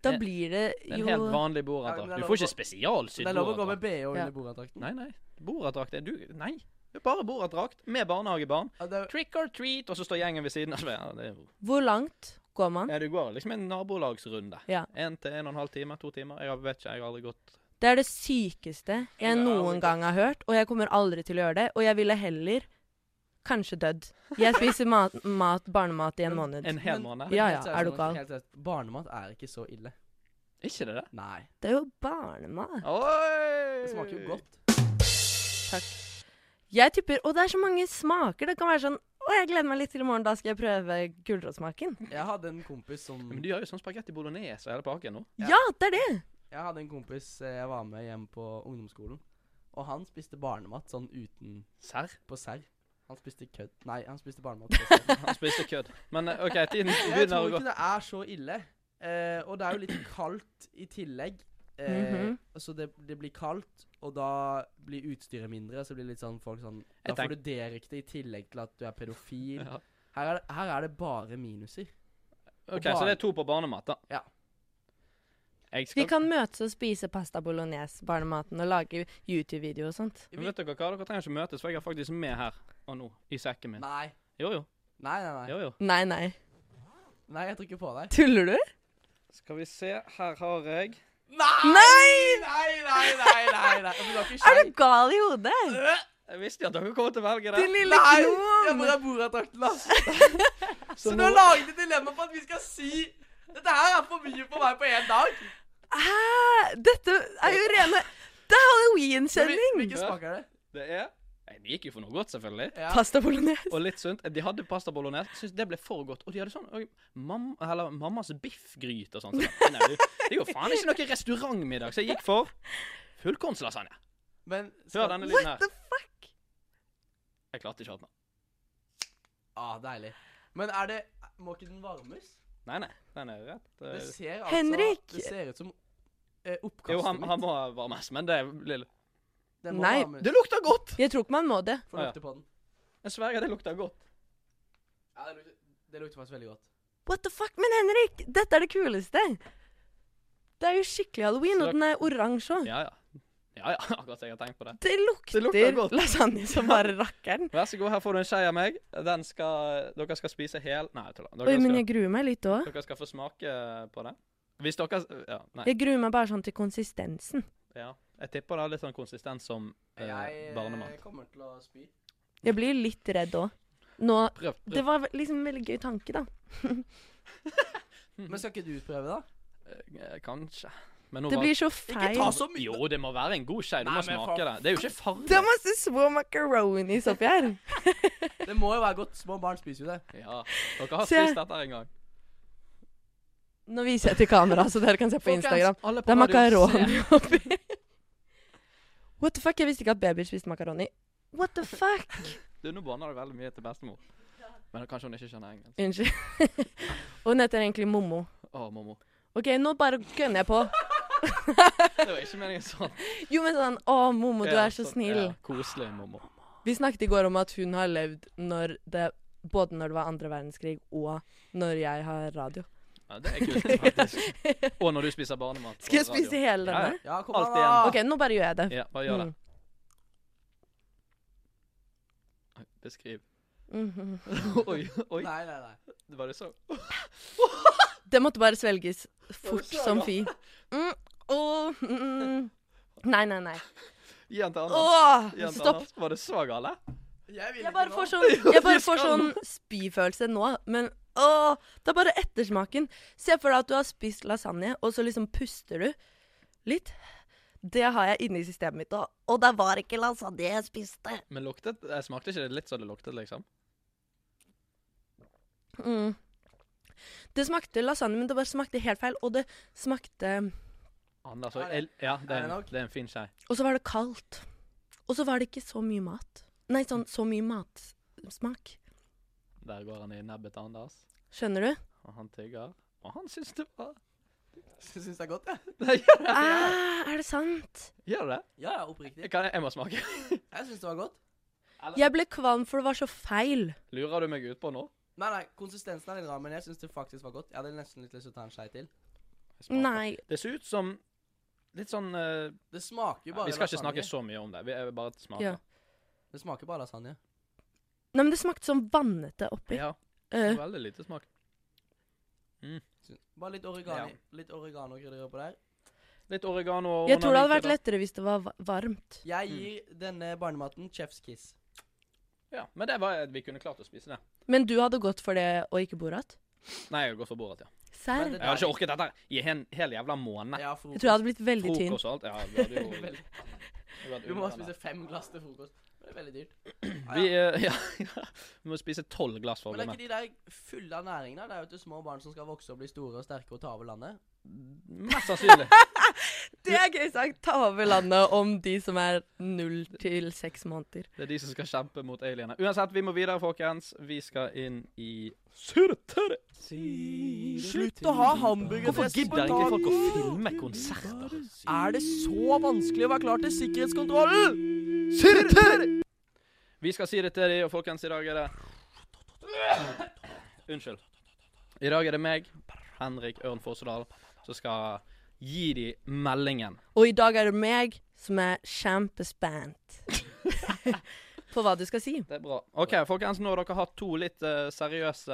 Speaker 2: Da
Speaker 1: Det-
Speaker 2: blir det
Speaker 1: Det er
Speaker 2: jo
Speaker 1: en helt
Speaker 2: Nei,
Speaker 1: vanlig
Speaker 3: Ja, men
Speaker 1: bordattrakt.
Speaker 3: det er
Speaker 1: Du
Speaker 3: lov
Speaker 1: får ikke
Speaker 3: å- Det
Speaker 1: spesialsydd
Speaker 3: er lov å gå med
Speaker 1: bordattrakt.
Speaker 3: BH under
Speaker 2: Ja.
Speaker 3: bordattrakten.
Speaker 1: Nei, nei. Bordattrakt er du Nei. Det er bare bordattrakt med barnehagebarn.
Speaker 3: Ja, det,
Speaker 1: Trick or treat, og så står gjengen ved siden av. Ja, det er jo
Speaker 2: Hvor langt går man?
Speaker 1: Nei, det går liksom en nabolagsrunde.
Speaker 2: Ja.
Speaker 1: En til en og en halv time, to timer. Jeg har- vet ikke, jeg har aldri gått
Speaker 2: Det er det sykeste jeg noen gang har hørt, og jeg kommer aldri til å gjøre det. Og jeg ville heller kanskje dødd. Jeg spiser mat, mat barnemat i en måned.
Speaker 1: en hel
Speaker 3: Men-
Speaker 1: måned.
Speaker 2: Ja,
Speaker 3: helt
Speaker 2: ja,
Speaker 3: seriøst,
Speaker 2: er du
Speaker 3: Henrik,
Speaker 2: gal?
Speaker 3: helt seriøst, Barnemat er ikke så ille.
Speaker 1: Ikke det det?
Speaker 3: Nei.
Speaker 2: Det er jo barnemat.
Speaker 1: Oi!
Speaker 3: Det smaker jo godt.
Speaker 2: Jeg tipper Og det er så mange smaker. Det kan være sånn Å, jeg gleder meg litt til i morgen, da skal jeg prøve gulrotsmaken.
Speaker 3: Jeg hadde en kompis som
Speaker 1: Men de har jo sånn spagetti bolognese og hele pakken nå.
Speaker 3: Ja.
Speaker 2: Ja. det er det!
Speaker 3: Jeg hadde en kompis eh, jeg var med hjem på ungdomsskolen. Og han spiste barnemat sånn uten
Speaker 1: Serr?
Speaker 3: på serr. Han spiste kødd Nei, han spiste barnemat på serr.
Speaker 1: Han spiste kødd. Men eh, OK, tiden
Speaker 3: Jeg
Speaker 1: begynner
Speaker 3: tror
Speaker 1: å gå.
Speaker 3: ikke det er så ille. Eh, og det er jo litt kaldt i tillegg. Eh,
Speaker 2: Mhm.
Speaker 3: Så det, det blir kaldt, og da blir utstyret mindre. Så blir det litt sånn folk sånn
Speaker 1: Jeg
Speaker 3: Da får
Speaker 1: tenk-
Speaker 3: du det ryktet i tillegg til at du er pedofil.
Speaker 1: Ja.
Speaker 3: Her, er det, her er det bare minuser.
Speaker 1: OK, så det er to på barnemat, da.
Speaker 3: Ja.
Speaker 1: Jeg
Speaker 2: Vi
Speaker 1: skal
Speaker 2: kan møtes og spise pasta bolognese, barnematen, og lage YouTube-video og sånt.
Speaker 1: Men Vet dere hva, dere trenger ikke møtes, for jeg har faktisk med her og nå, i sekken min.
Speaker 3: Nei.
Speaker 1: Jo jo.
Speaker 3: Nei, nei, nei.
Speaker 1: jo, jo.
Speaker 2: Nei, nei.
Speaker 3: Nei, jeg tror ikke på deg.
Speaker 2: Tuller du?
Speaker 1: Skal vi se, her har jeg
Speaker 3: Nei!
Speaker 2: Nei!
Speaker 3: Nei, nei, nei, nei. nei. Men du har ikke
Speaker 2: Er
Speaker 3: skjegg.
Speaker 2: du gal i hodet?
Speaker 1: Jeg visste jo at dere kom til å velge det.
Speaker 2: Din lille
Speaker 3: Nei! Jeg
Speaker 2: gnom!
Speaker 3: må ha bordatrakten, da. Så du har laget et dilemma på at vi skal si Dette her er for mye for meg på én dag.
Speaker 2: Hæ? Dette er jo rene Det er
Speaker 3: Hvil-
Speaker 2: halloween-sending!
Speaker 3: Hvilken smak er det?
Speaker 1: Det er Nei, De gikk jo for noe godt, selvfølgelig.
Speaker 3: Ja.
Speaker 2: Pasta bolognese.
Speaker 1: Og litt sunt. De hadde pasta bolognese. Syns det ble for godt. Og de hadde sånn og mam, eller, mammas biffgryte og sånn. Så jeg, nei, du, det er jo faen ikke noe restaurantmiddag, så jeg gikk for fullkornslasagne.
Speaker 3: Men
Speaker 1: Hør
Speaker 3: skal-
Speaker 1: denne lyden
Speaker 2: What
Speaker 1: her.
Speaker 2: the fuck?
Speaker 1: Jeg klarte ikke å ha den.
Speaker 3: Ah, deilig. Men er det Må ikke den varmes?
Speaker 1: Nei, nei. Den er rett. eh,
Speaker 3: Det ser altså
Speaker 2: Henrik!
Speaker 3: Det ser ut som eh, oppkastet
Speaker 1: Jo, han,
Speaker 3: mitt.
Speaker 1: han må varmes, men det er lille
Speaker 3: Den må
Speaker 2: Nei,
Speaker 3: varmes.
Speaker 1: Det lukter godt!
Speaker 2: Jeg tror ikke man må det.
Speaker 3: Få lukte på den.
Speaker 1: Jeg sverger, det lukter godt.
Speaker 3: Ja, det lukter, det lukter faktisk veldig godt.
Speaker 2: What the fuck? Men Henrik, dette er det kuleste. Det er jo skikkelig halloween, og
Speaker 1: Så-
Speaker 2: den er oransje òg.
Speaker 1: Ja, ja. Ja, ja, akkurat jeg har tenkt på det.
Speaker 2: Det
Speaker 1: lukter
Speaker 2: lukter
Speaker 1: godt.
Speaker 2: lasagne som bare rakkeren.
Speaker 1: Vær så god, her får du en skje av meg. Den skal Dere skal spise hel Nei, jeg tuller.
Speaker 2: Oi,
Speaker 1: Dere,
Speaker 2: men
Speaker 1: skal-
Speaker 2: jeg gruer meg litt òg.
Speaker 1: dere skal få smake på det. Hvis dere Ja, nei.
Speaker 2: Jeg gruer meg bare sånn til konsistensen.
Speaker 1: Ja. Jeg tipper det er litt sånn konsistens som eh,
Speaker 3: Jeg eh,
Speaker 1: barnemat.
Speaker 3: kommer til å spy.
Speaker 2: Jeg blir litt redd òg. Nå
Speaker 1: Prøv. prøv.
Speaker 2: Det var liksom en veldig gøy tanke, da.
Speaker 3: Men skal ikke du prøve, da?
Speaker 1: Eh, Kanskje. Men nå
Speaker 2: Det
Speaker 1: var- Altså,
Speaker 2: blir så
Speaker 3: Ikke
Speaker 2: feil.
Speaker 3: ta så mye.
Speaker 1: Jo, det må være en god skje. Du
Speaker 3: Nei,
Speaker 1: må
Speaker 3: men
Speaker 1: smake
Speaker 3: faen.
Speaker 1: det. Det er jo ikke
Speaker 2: Det er
Speaker 1: farlig.
Speaker 2: masse små macaronis oppi her.
Speaker 3: Det må jo være godt. Små barn spiser jo det.
Speaker 1: Ja. Dere har
Speaker 2: Se.
Speaker 1: spist dette en gang.
Speaker 2: Nå viser jeg til kamera, så dere kan se på Instagram.
Speaker 1: alle på
Speaker 2: Det er
Speaker 1: radio,
Speaker 2: makaroni
Speaker 1: se.
Speaker 2: oppi. What the fuck? Jeg visste ikke at babyer spiste makaroni. What the fuck?
Speaker 1: Du, nå banner du veldig mye til bestemor. Men kanskje hun ikke skjønner engelsk.
Speaker 2: Unnskyld. Og hun heter egentlig Mommo.
Speaker 1: Å, mammo.
Speaker 2: OK, nå bare gønner jeg på.
Speaker 1: Det var ikke meningen sånn.
Speaker 2: Jo, men sånn Å, Mommo, du
Speaker 1: Ja,
Speaker 2: er så
Speaker 1: sånn.
Speaker 2: snill.
Speaker 1: Ja, koselig, mammo.
Speaker 2: Vi snakket i går om at hun har levd når det både når det var andre verdenskrig, og når jeg har radio.
Speaker 1: Ja, det er kult, faktisk. Og når du spiser barnemat. på
Speaker 2: Skal jeg
Speaker 1: radio.
Speaker 2: spise hele
Speaker 1: Ja, ja.
Speaker 2: denne?
Speaker 3: Ja, kom
Speaker 1: Alt
Speaker 3: an,
Speaker 1: igjen.
Speaker 3: da.
Speaker 2: OK, nå bare gjør jeg det.
Speaker 1: Ja, bare gjør det.
Speaker 2: Mm. Mm.
Speaker 1: Oi, Beskriv.
Speaker 2: Mhm.
Speaker 1: Oi, oi.
Speaker 3: Nei, nei, nei.
Speaker 1: Var det så
Speaker 2: Det måtte bare svelges fort som fy. Mm, åh, mm. Nei, nei, nei.
Speaker 1: Gi den til Anders.
Speaker 2: Åh,
Speaker 1: Gi den til
Speaker 2: stopp.
Speaker 1: Anders. Var det så gale?
Speaker 3: Jeg
Speaker 2: Jeg
Speaker 3: vil ikke
Speaker 2: bare
Speaker 3: nå.
Speaker 2: får sånn, jeg bare får sånn spyfølelse nå, men Åh, det er bare ettersmaken. Se for deg at du har spist lasagne, og så liksom puster du litt. Det har jeg inni systemet mitt. Og, og det var ikke lasagne jeg spiste.
Speaker 1: Men luktet, jeg smakte ikke det litt så det luktet, liksom?
Speaker 2: Mm. Det smakte lasagne, men det bare smakte helt feil. Og det smakte
Speaker 1: Anders,
Speaker 3: Ja,
Speaker 1: og
Speaker 3: det-
Speaker 1: el, ja, det
Speaker 3: er
Speaker 1: er,
Speaker 3: det
Speaker 1: en,
Speaker 3: nok?
Speaker 1: det er en fin skei.
Speaker 2: Og så var det kaldt. Og så var det ikke så mye mat. Nei, sånn så mye matsmak.
Speaker 1: Der går han i nebbet til Anders,
Speaker 2: Skjønner du?
Speaker 1: og han tygger. Og han syns det var
Speaker 3: Syns det er godt, jeg.
Speaker 1: Nei, gjør det?
Speaker 2: Ah, er det sant?
Speaker 1: Gjør det?
Speaker 3: Ja, ja, oppriktig.
Speaker 1: Kan jeg, jeg må smake.
Speaker 3: Jeg syns det var godt.
Speaker 2: Jeg ble kvalm, for det var så feil.
Speaker 1: Lurer du meg utpå nå?
Speaker 3: Nei, nei, konsistensen er litt rar, men jeg syns det faktisk var godt. Jeg hadde nesten litt lyst til å ta en skei til.
Speaker 1: Jeg smaker.
Speaker 2: Nei.
Speaker 1: Det ser ut som litt sånn eh,
Speaker 3: Det smaker jo bare
Speaker 1: Vi skal ikke
Speaker 3: lasagne.
Speaker 1: snakke så mye om det. Vi jeg vil bare smake.
Speaker 2: Ja.
Speaker 3: Det smaker bare lasagne.
Speaker 2: Nei, men det smakte sånn vannete oppi.
Speaker 1: Ja,
Speaker 2: Eh,
Speaker 1: veldig lite smak.
Speaker 3: Syns- Bare litt
Speaker 1: Ja.
Speaker 3: oregano Litt oregano og krydder på der.
Speaker 1: Litt oregano og
Speaker 2: jeg tror det hadde
Speaker 1: onanike,
Speaker 2: vært lettere hvis det var va- varmt.
Speaker 1: Mm.
Speaker 3: Jeg gir denne barnematen chef's kiss.
Speaker 1: da. Ja, Men det var vi kunne klart å spise det.
Speaker 2: Men du hadde gått for det og ikke borat?
Speaker 1: Nei, jeg går for bordet, ja.
Speaker 2: Serr?
Speaker 3: Men det-
Speaker 1: Jeg hadde ikke orket dette her i en hel jævla måned.
Speaker 3: Ja,
Speaker 2: Jeg
Speaker 3: frokost.
Speaker 2: tror jeg hadde blitt veldig tynn.
Speaker 1: Frokost og alt. Ja, vi hadde jo
Speaker 3: Veldig.
Speaker 1: vi hadde
Speaker 3: Du må
Speaker 1: unna
Speaker 3: spise
Speaker 1: det.
Speaker 3: fem glass til frokost. Det er veldig dyrt.
Speaker 1: Vi, eh, ja, ja. vi må spise tolv glass for å bli
Speaker 3: Men er
Speaker 1: mett.
Speaker 3: ikke de der fulle av næring der? Det er jo til små barn som skal vokse og bli store og sterke og ta over landet.
Speaker 1: Mest sannsynlig.
Speaker 2: Det er gøy sagt. Ta over landet om de som er null til seks måneder.
Speaker 1: Det er de som skal kjempe mot alienene. Uansett, vi må videre, folkens. Vi skal inn i Surtere.
Speaker 5: Slutt å ha hamburgerfest
Speaker 1: Hvorfor gidder
Speaker 5: på
Speaker 1: ikke folk å
Speaker 5: dagen?
Speaker 1: filme konserter?
Speaker 5: Er det så vanskelig å være klar til sikkerhetskontrollen?
Speaker 1: Vi skal si det til de, og folkens, i dag er det Unnskyld. I dag er det meg, Henrik Ørn Fossedal, som skal gi de meldingen.
Speaker 2: Og i dag er det meg som er kjempespent på hva du skal si.
Speaker 1: Det er bra. OK, folkens, nå har dere hatt to litt eh, seriøse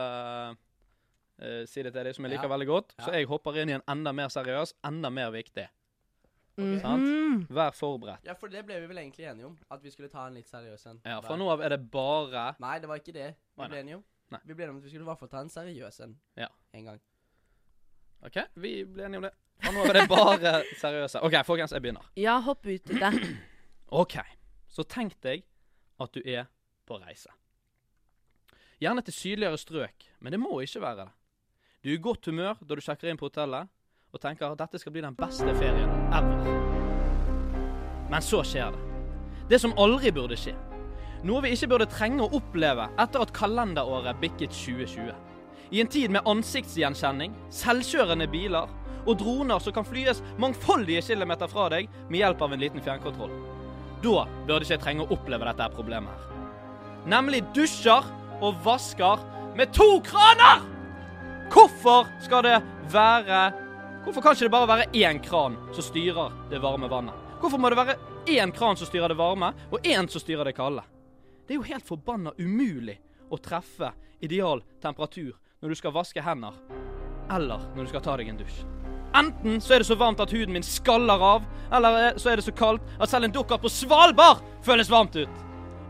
Speaker 1: eh, sider til deg som jeg liker
Speaker 3: Ja.
Speaker 1: veldig godt,
Speaker 3: Ja.
Speaker 1: så jeg hopper inn i en enda mer seriøs, enda mer viktig.
Speaker 2: Mhm.
Speaker 1: Sant. Vær forberedt.
Speaker 3: Ja, for det ble vi vel egentlig enige om. At vi skulle ta en litt seriøs en.
Speaker 1: Ja,
Speaker 3: hver.
Speaker 1: Fra nå av er det bare
Speaker 3: Nei, det var ikke det vi
Speaker 1: Nei, nei.
Speaker 3: ble enige om.
Speaker 1: Nei.
Speaker 3: Vi ble enige om at vi skulle i hvert fall ta en seriøs en.
Speaker 1: Ja.
Speaker 3: En gang.
Speaker 1: OK, vi ble enige om det. Fra nå av er det bare seriøse. OK, folkens, jeg begynner.
Speaker 2: Ja, hopp ut i det.
Speaker 1: OK, så tenk deg at du er på reise. Gjerne til sydligere strøk, men det må ikke være det. Du er i godt humør da du sjekker inn på hotellet og tenker at dette skal bli den beste ferien ever. Men så skjer det. Det som aldri burde skje. Noe vi ikke burde trenge å oppleve etter at kalenderåret bikket 2020. I en tid med ansiktsgjenkjenning, selvkjørende biler og droner som kan flyes mangfoldige kilometer fra deg med hjelp av en liten fjernkontroll. Da burde ikke jeg trenge å oppleve dette her problemet her. Nemlig dusjer og vasker med to kraner! Hvorfor skal det være Hvorfor kan ikke det bare være én kran som styrer det varme vannet? Hvorfor må det være én kran som styrer det varme, og én som styrer det kalde? Det er jo helt forbanna umulig å treffe ideal temperatur når du skal vaske hender, eller når du skal ta deg en dusj. Enten så er det så varmt at huden min skaller av, eller eh, så er det så kaldt at selv en dukker på Svalbard føles varmt ut.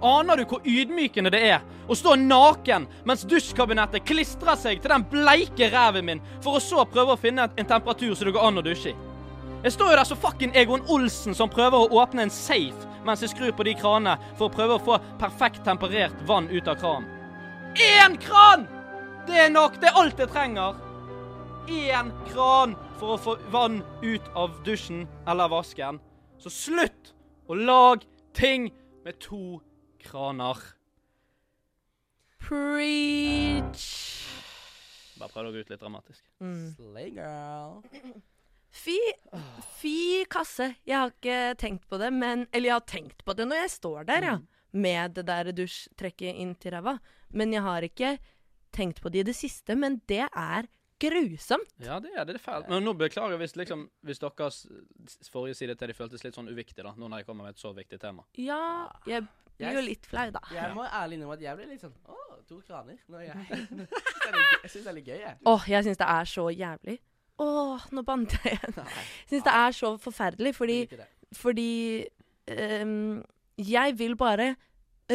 Speaker 1: Aner du hvor ydmykende det er å stå naken mens dusjkabinettet klistrer seg til den bleike ræven min, for å så prøve å finne en temperatur som det går an å dusje i? Jeg står jo der som fucking Egon Olsen som prøver å åpne en safe mens jeg skrur på de kranene for å prøve å få perfekt temperert vann ut av kranen. Én kran! Det er nok. Det er alt jeg trenger én kran for å få vann ut av dusjen eller vasken. Så slutt å lage ting med to kraner.
Speaker 2: Preach.
Speaker 1: Bare prøv å gå ut litt dramatisk.
Speaker 3: Slay girl.
Speaker 2: Fy, fy kasse. Jeg har ikke tenkt på det, men Eller jeg har tenkt på det når jeg står der, ja. Med det der dusjtrekket inn til ræva. Men jeg har ikke tenkt på det i det siste, men det er grusomt.
Speaker 1: Ja, det er det. Det er fælt. Men nå beklager jeg hvis, liksom, hvis deres s- forrige side til de føltes litt sånn uviktig, da. Nå når jeg kommer med et så viktig tema.
Speaker 2: Ja, jeg blir jo litt flau, da.
Speaker 3: Jeg må ærlig innrømme at jeg ble litt sånn Å, to kraner. Når jeg Jeg syns det er litt gøy- jeg syns det er litt gøy, jeg.
Speaker 2: Åh, jeg syns det er så jævlig. Åh, nå bannet jeg igjen. Syns det er så forferdelig, fordi,
Speaker 3: Liker det.
Speaker 2: fordi ehm, jeg vil bare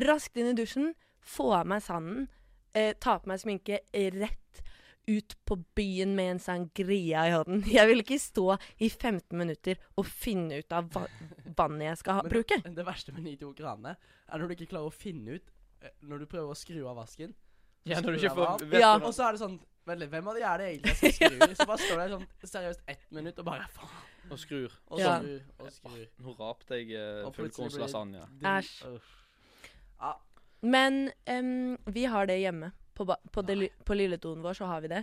Speaker 2: raskt inn i dusjen, få av meg sanden, eh, ta på meg sminke rett ut på byen med en sangria i hånden. Jeg vil ikke stå i 15 minutter og finne ut av hva vannet jeg skal ha,
Speaker 3: Men
Speaker 2: bruke.
Speaker 3: Det verste med 92 kranene er når du ikke klarer å finne ut eh, Når du prøver å skru av vasken. så
Speaker 1: Ja, når du
Speaker 3: skrur
Speaker 1: ikke
Speaker 3: du av
Speaker 1: får vet
Speaker 2: Ja.
Speaker 1: hvordan-
Speaker 3: Og så er det sånn Vent litt, hvem av de er det egentlig jeg skal skru i? Så bare står du der sånn seriøst ett minutt og bare faen.
Speaker 1: Og skrur.
Speaker 3: Og
Speaker 2: Ja.
Speaker 3: skrur og skrur.
Speaker 1: Nå rapte jeg eh,
Speaker 3: Og plutselig blir det-
Speaker 1: fullkornslasagne.
Speaker 2: Æsj.
Speaker 3: Uff. Ja,
Speaker 2: Men em, vi har det hjemme. På, ba- på, det, li- på lilledoen vår så har vi det.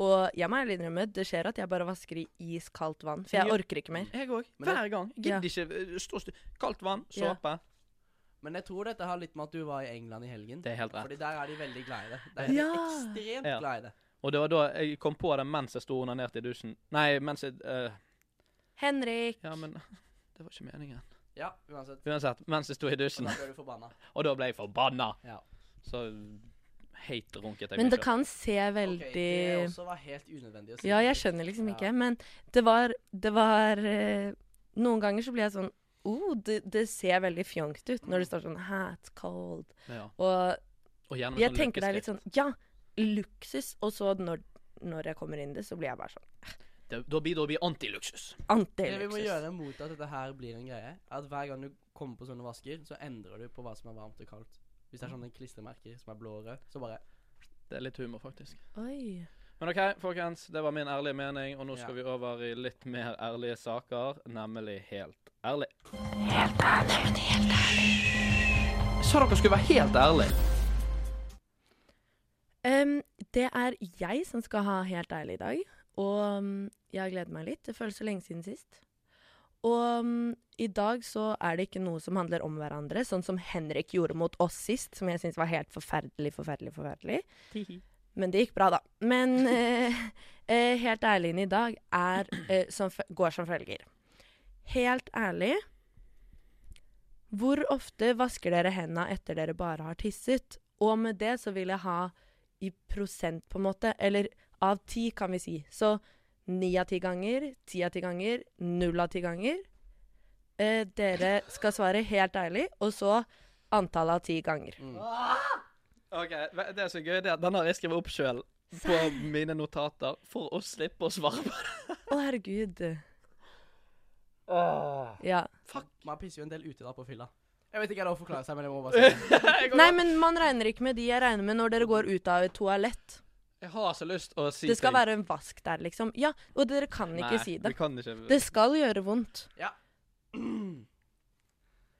Speaker 2: Og jeg må ærlig innrømme, det skjer at jeg bare vasker i iskaldt vann. For jeg
Speaker 1: Ja.
Speaker 2: orker
Speaker 3: Mm.
Speaker 2: ikke mer.
Speaker 1: Jeg òg.
Speaker 3: Men det-
Speaker 1: Hver gang. Jeg
Speaker 2: Ja.
Speaker 1: Gidder ikke. eh, Stå st Kaldt vann,
Speaker 2: Ja.
Speaker 1: såpe.
Speaker 3: men jeg tror dette har litt med at du var i England i helgen.
Speaker 1: Det er helt rett.
Speaker 3: Fordi der er de veldig glad i det. Der er de
Speaker 2: Ja.
Speaker 3: ekstremt
Speaker 1: Ja.
Speaker 3: glad i det.
Speaker 1: Og det var da jeg kom på det mens jeg sto onanert i dusjen. Nei, mens jeg eh,
Speaker 2: Henrik!
Speaker 1: Ja, men Det var ikke meningen.
Speaker 3: Ja, uansett.
Speaker 1: Uansett, mens jeg sto i
Speaker 3: Og
Speaker 1: dusjen.
Speaker 3: da ble du forbanna.
Speaker 1: Og da ble jeg forbanna.
Speaker 3: Ja.
Speaker 1: Så hate runket jeg
Speaker 2: Men
Speaker 1: meg
Speaker 2: det
Speaker 1: selv.
Speaker 2: kan se
Speaker 3: Ok,
Speaker 2: veldig
Speaker 3: det også var helt unødvendig å si.
Speaker 2: Ja, jeg skjønner liksom
Speaker 3: Ja.
Speaker 2: ikke. Men det var, det var eh, Noen ganger så blir jeg sånn Oh, det, det ser veldig fjongt ut når det står sånn Hat cold.
Speaker 1: Ja.
Speaker 2: Og
Speaker 1: Og gjerne med
Speaker 2: jeg
Speaker 1: sånn
Speaker 2: tenker det er litt
Speaker 1: lykkeskrift.
Speaker 2: sånn Ja, luksus. Og så når, når jeg kommer inn i det, så blir jeg bare sånn
Speaker 1: Det- Da blir da blir antiluksus.
Speaker 3: Det vi må
Speaker 2: Antiluksus.
Speaker 3: gjøre mot at dette her blir en greie, er at hver gang du kommer på sånne vasker, så endrer du på hva som er varmt og kaldt. Hvis det er sånne klistremerker som er blå og rød, så bare
Speaker 1: Det er litt humor, faktisk.
Speaker 2: Oi.
Speaker 1: Men OK, folkens. Det var min ærlige mening, og nå skal vi
Speaker 3: Ja.
Speaker 1: over i litt mer ærlige saker, nemlig helt ærlig. Helt ærlig, helt ærlig. Jeg sa dere skulle være helt ærlig.
Speaker 2: Em, det er jeg som skal ha helt ærlig i dag, og mm, jeg gleder meg litt. Det føles så lenge siden sist. Og mm, i dag så er det ikke noe som handler om hverandre, sånn som Henrik gjorde mot oss sist, som jeg syns var helt forferdelig, forferdelig, forferdelig. Men det gikk bra, da. Men eh, eh, helt ærlig i dag er, eh, som, fø- går som følger. Helt ærlig Hvor ofte vasker dere hendene etter dere bare har tisset? Og med det så vil jeg ha i prosent, på en måte. Eller av ti, kan vi si. Så ni av ti ganger, ti av ti ganger, null av ti ganger. Eh, dere skal svare helt ærlig, og så antallet av ti ganger.
Speaker 1: OK, ve- det som er gøy, det er at den har jeg skrevet opp sjøl på mine notater for å slippe å svare på det.
Speaker 2: Å, herregud. Ja.
Speaker 3: Man pisser jo en del ute da på fylla. Jeg vet ikke hva det er å forklare seg, men jeg må bare si det.
Speaker 2: Nei, men man regner ikke med de jeg regner med når dere går ut av et toalett.
Speaker 1: Jeg har så lyst å si
Speaker 2: Det skal
Speaker 1: ting.
Speaker 2: være en vask der, liksom. Ja, og dere kan ikke
Speaker 1: Nei,
Speaker 2: si det.
Speaker 1: Vi kan ikke.
Speaker 2: Det skal gjøre vondt.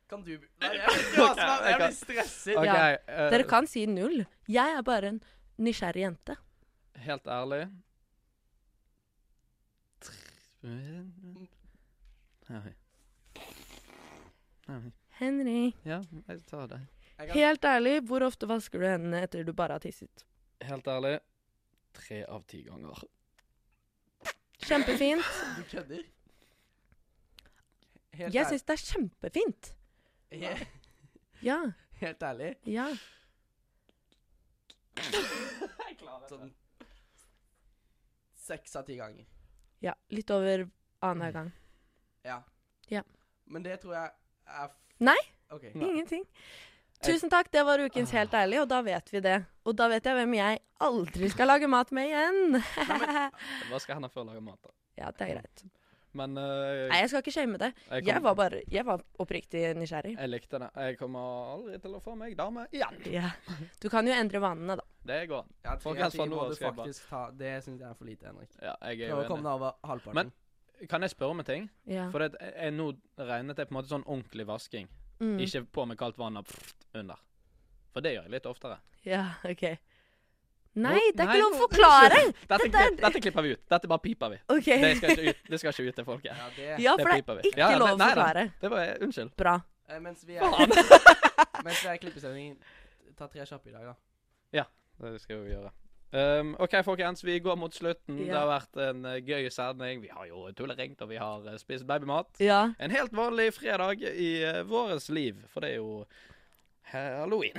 Speaker 3: Kan du Nei, jeg vet ikke hva som er Jeg blir stresset.
Speaker 1: OK.
Speaker 2: Ja.
Speaker 1: eh,
Speaker 2: Dere kan si null. Jeg er bare en nysgjerrig jente.
Speaker 1: Helt ærlig Nei. Nei.
Speaker 2: Henrik,
Speaker 1: Ja, jeg tar det.
Speaker 3: Jeg kan,
Speaker 2: helt ærlig, hvor ofte vasker du hendene etter du bare har tisset?
Speaker 1: Helt ærlig tre av ti ganger.
Speaker 2: Kjempefint.
Speaker 3: du kødder? Helt,
Speaker 2: Jeg syns det er kjempefint.
Speaker 3: ærlig, he,
Speaker 2: Ja,
Speaker 3: helt ærlig
Speaker 2: ja.
Speaker 3: sånn seks av ti ganger.
Speaker 2: ja. Litt over annenhver gang.
Speaker 3: Ja.
Speaker 2: Ja.
Speaker 3: Men det tror jeg er f
Speaker 2: Nei.
Speaker 3: OK.
Speaker 1: Nei.
Speaker 2: Ingenting. Tusen takk, det var ukens Helt
Speaker 1: Ah.
Speaker 2: ærlig, og da vet vi det. Og da vet jeg hvem jeg aldri skal lage mat med igjen.
Speaker 1: Jeg vasker hendene før jeg lager mat. da.
Speaker 2: Ja, det er greit.
Speaker 1: Men eh,
Speaker 2: Nei, jeg skal ikke shame det.
Speaker 1: jeg,
Speaker 2: Jeg
Speaker 1: kom,
Speaker 2: var bare Jeg var oppriktig nysgjerrig.
Speaker 1: jeg likte det. Jeg kommer aldri til å få meg dame igjen.
Speaker 2: Ja. Du kan jo endre vanene, da.
Speaker 1: Det går an.
Speaker 3: Ja, tre
Speaker 1: Folkens,
Speaker 3: av ti
Speaker 1: fra nå
Speaker 3: må
Speaker 1: av
Speaker 3: du
Speaker 1: skal jeg bare-
Speaker 3: faktisk ta. Det syns jeg er for lite, Henrik.
Speaker 1: Ja, jeg er
Speaker 3: Prøv å
Speaker 1: jo
Speaker 3: komme
Speaker 1: enig.
Speaker 3: deg over halvparten.
Speaker 1: Men- Kan jeg spørre om en ting?
Speaker 2: Ja.
Speaker 1: For det, jeg, jeg, nå regnet jeg på en måte sånn ordentlig vasking.
Speaker 2: Mm.
Speaker 1: Ikke på med kaldt vann og pff, under. For det gjør jeg litt oftere.
Speaker 2: Ja, OK. Nei, det er
Speaker 1: Nei,
Speaker 2: ikke lov å
Speaker 1: nå-
Speaker 2: forklare!
Speaker 1: Dette,
Speaker 2: Dette er-
Speaker 1: dette klipper vi ut. Dette bare piper vi.
Speaker 2: OK.
Speaker 1: Det skal ikke ut, det skal ikke ut til folket.
Speaker 3: ja, det,
Speaker 2: Ja,
Speaker 1: det
Speaker 2: for det
Speaker 1: piper
Speaker 2: er
Speaker 1: vi. Ja, ja,
Speaker 2: ikke lov å
Speaker 1: nei, nei.
Speaker 2: forklare.
Speaker 1: Det var Unnskyld.
Speaker 2: Bra.
Speaker 3: eh, mens vi er
Speaker 1: Faen!
Speaker 3: Mens vi er i klippesendingen, ta tre kjappe i dag, da.
Speaker 1: Det skal vi gjøre. Um, OK, folkens. Vi går mot slutten. Det
Speaker 2: Ja.
Speaker 1: har vært en eh, gøy sending. Vi har jo tulleringt, og vi har eh, spist babymat.
Speaker 2: Ja.
Speaker 1: En helt vanlig fredag i eh, våres liv, for det er jo he- halloween.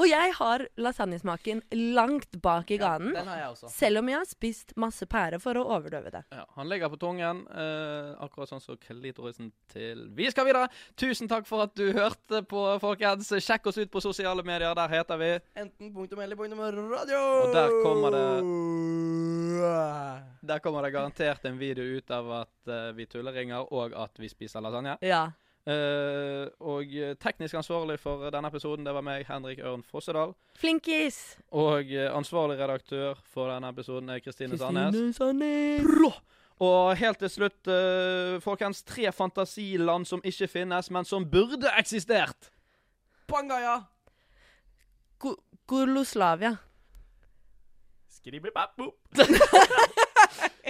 Speaker 2: Og jeg har lasagnesmaken langt bak i ganen.
Speaker 3: Den har jeg også.
Speaker 2: Selv om jeg har spist masse pære for å overdøve det.
Speaker 1: Ja, han ligger på tungen, eh, akkurat sånn som klitorisen til Vi skal videre! Tusen takk for at du hørte på, folkens. Sjekk oss ut på sosiale medier. Der heter vi
Speaker 3: Enten punktum eller punktum radio.
Speaker 1: Og der kommer
Speaker 3: det
Speaker 1: Der kommer det garantert en video ut av at eh, vi tulleringer, og at vi spiser lasagne.
Speaker 2: Ja.
Speaker 1: Eh, og eh, teknisk ansvarlig for denne episoden, det var meg, Henrik Ørn Fossedal.
Speaker 2: Flinkis!
Speaker 1: Og eh, ansvarlig redaktør for denne episoden er Kristine Sandnes.
Speaker 2: Sandnes.
Speaker 1: Og helt til slutt, eh, folkens, tre fantasiland som ikke finnes, men som burde eksistert.
Speaker 3: Pangaya.
Speaker 2: Ko- Goroslavia.
Speaker 3: Skribbelbapp-bopp.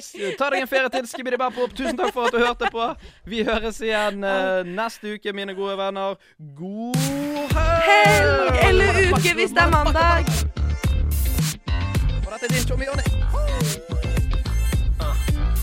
Speaker 1: S- Ta deg en ferie til, skibidi-bapp-opp. Tusen takk for at du hørte på. Vi høres igjen eh, neste uke, mine gode venner. God helg!
Speaker 2: Helg eller uke hvis det er mandag.
Speaker 1: Og dette er din Tjommi Jonny.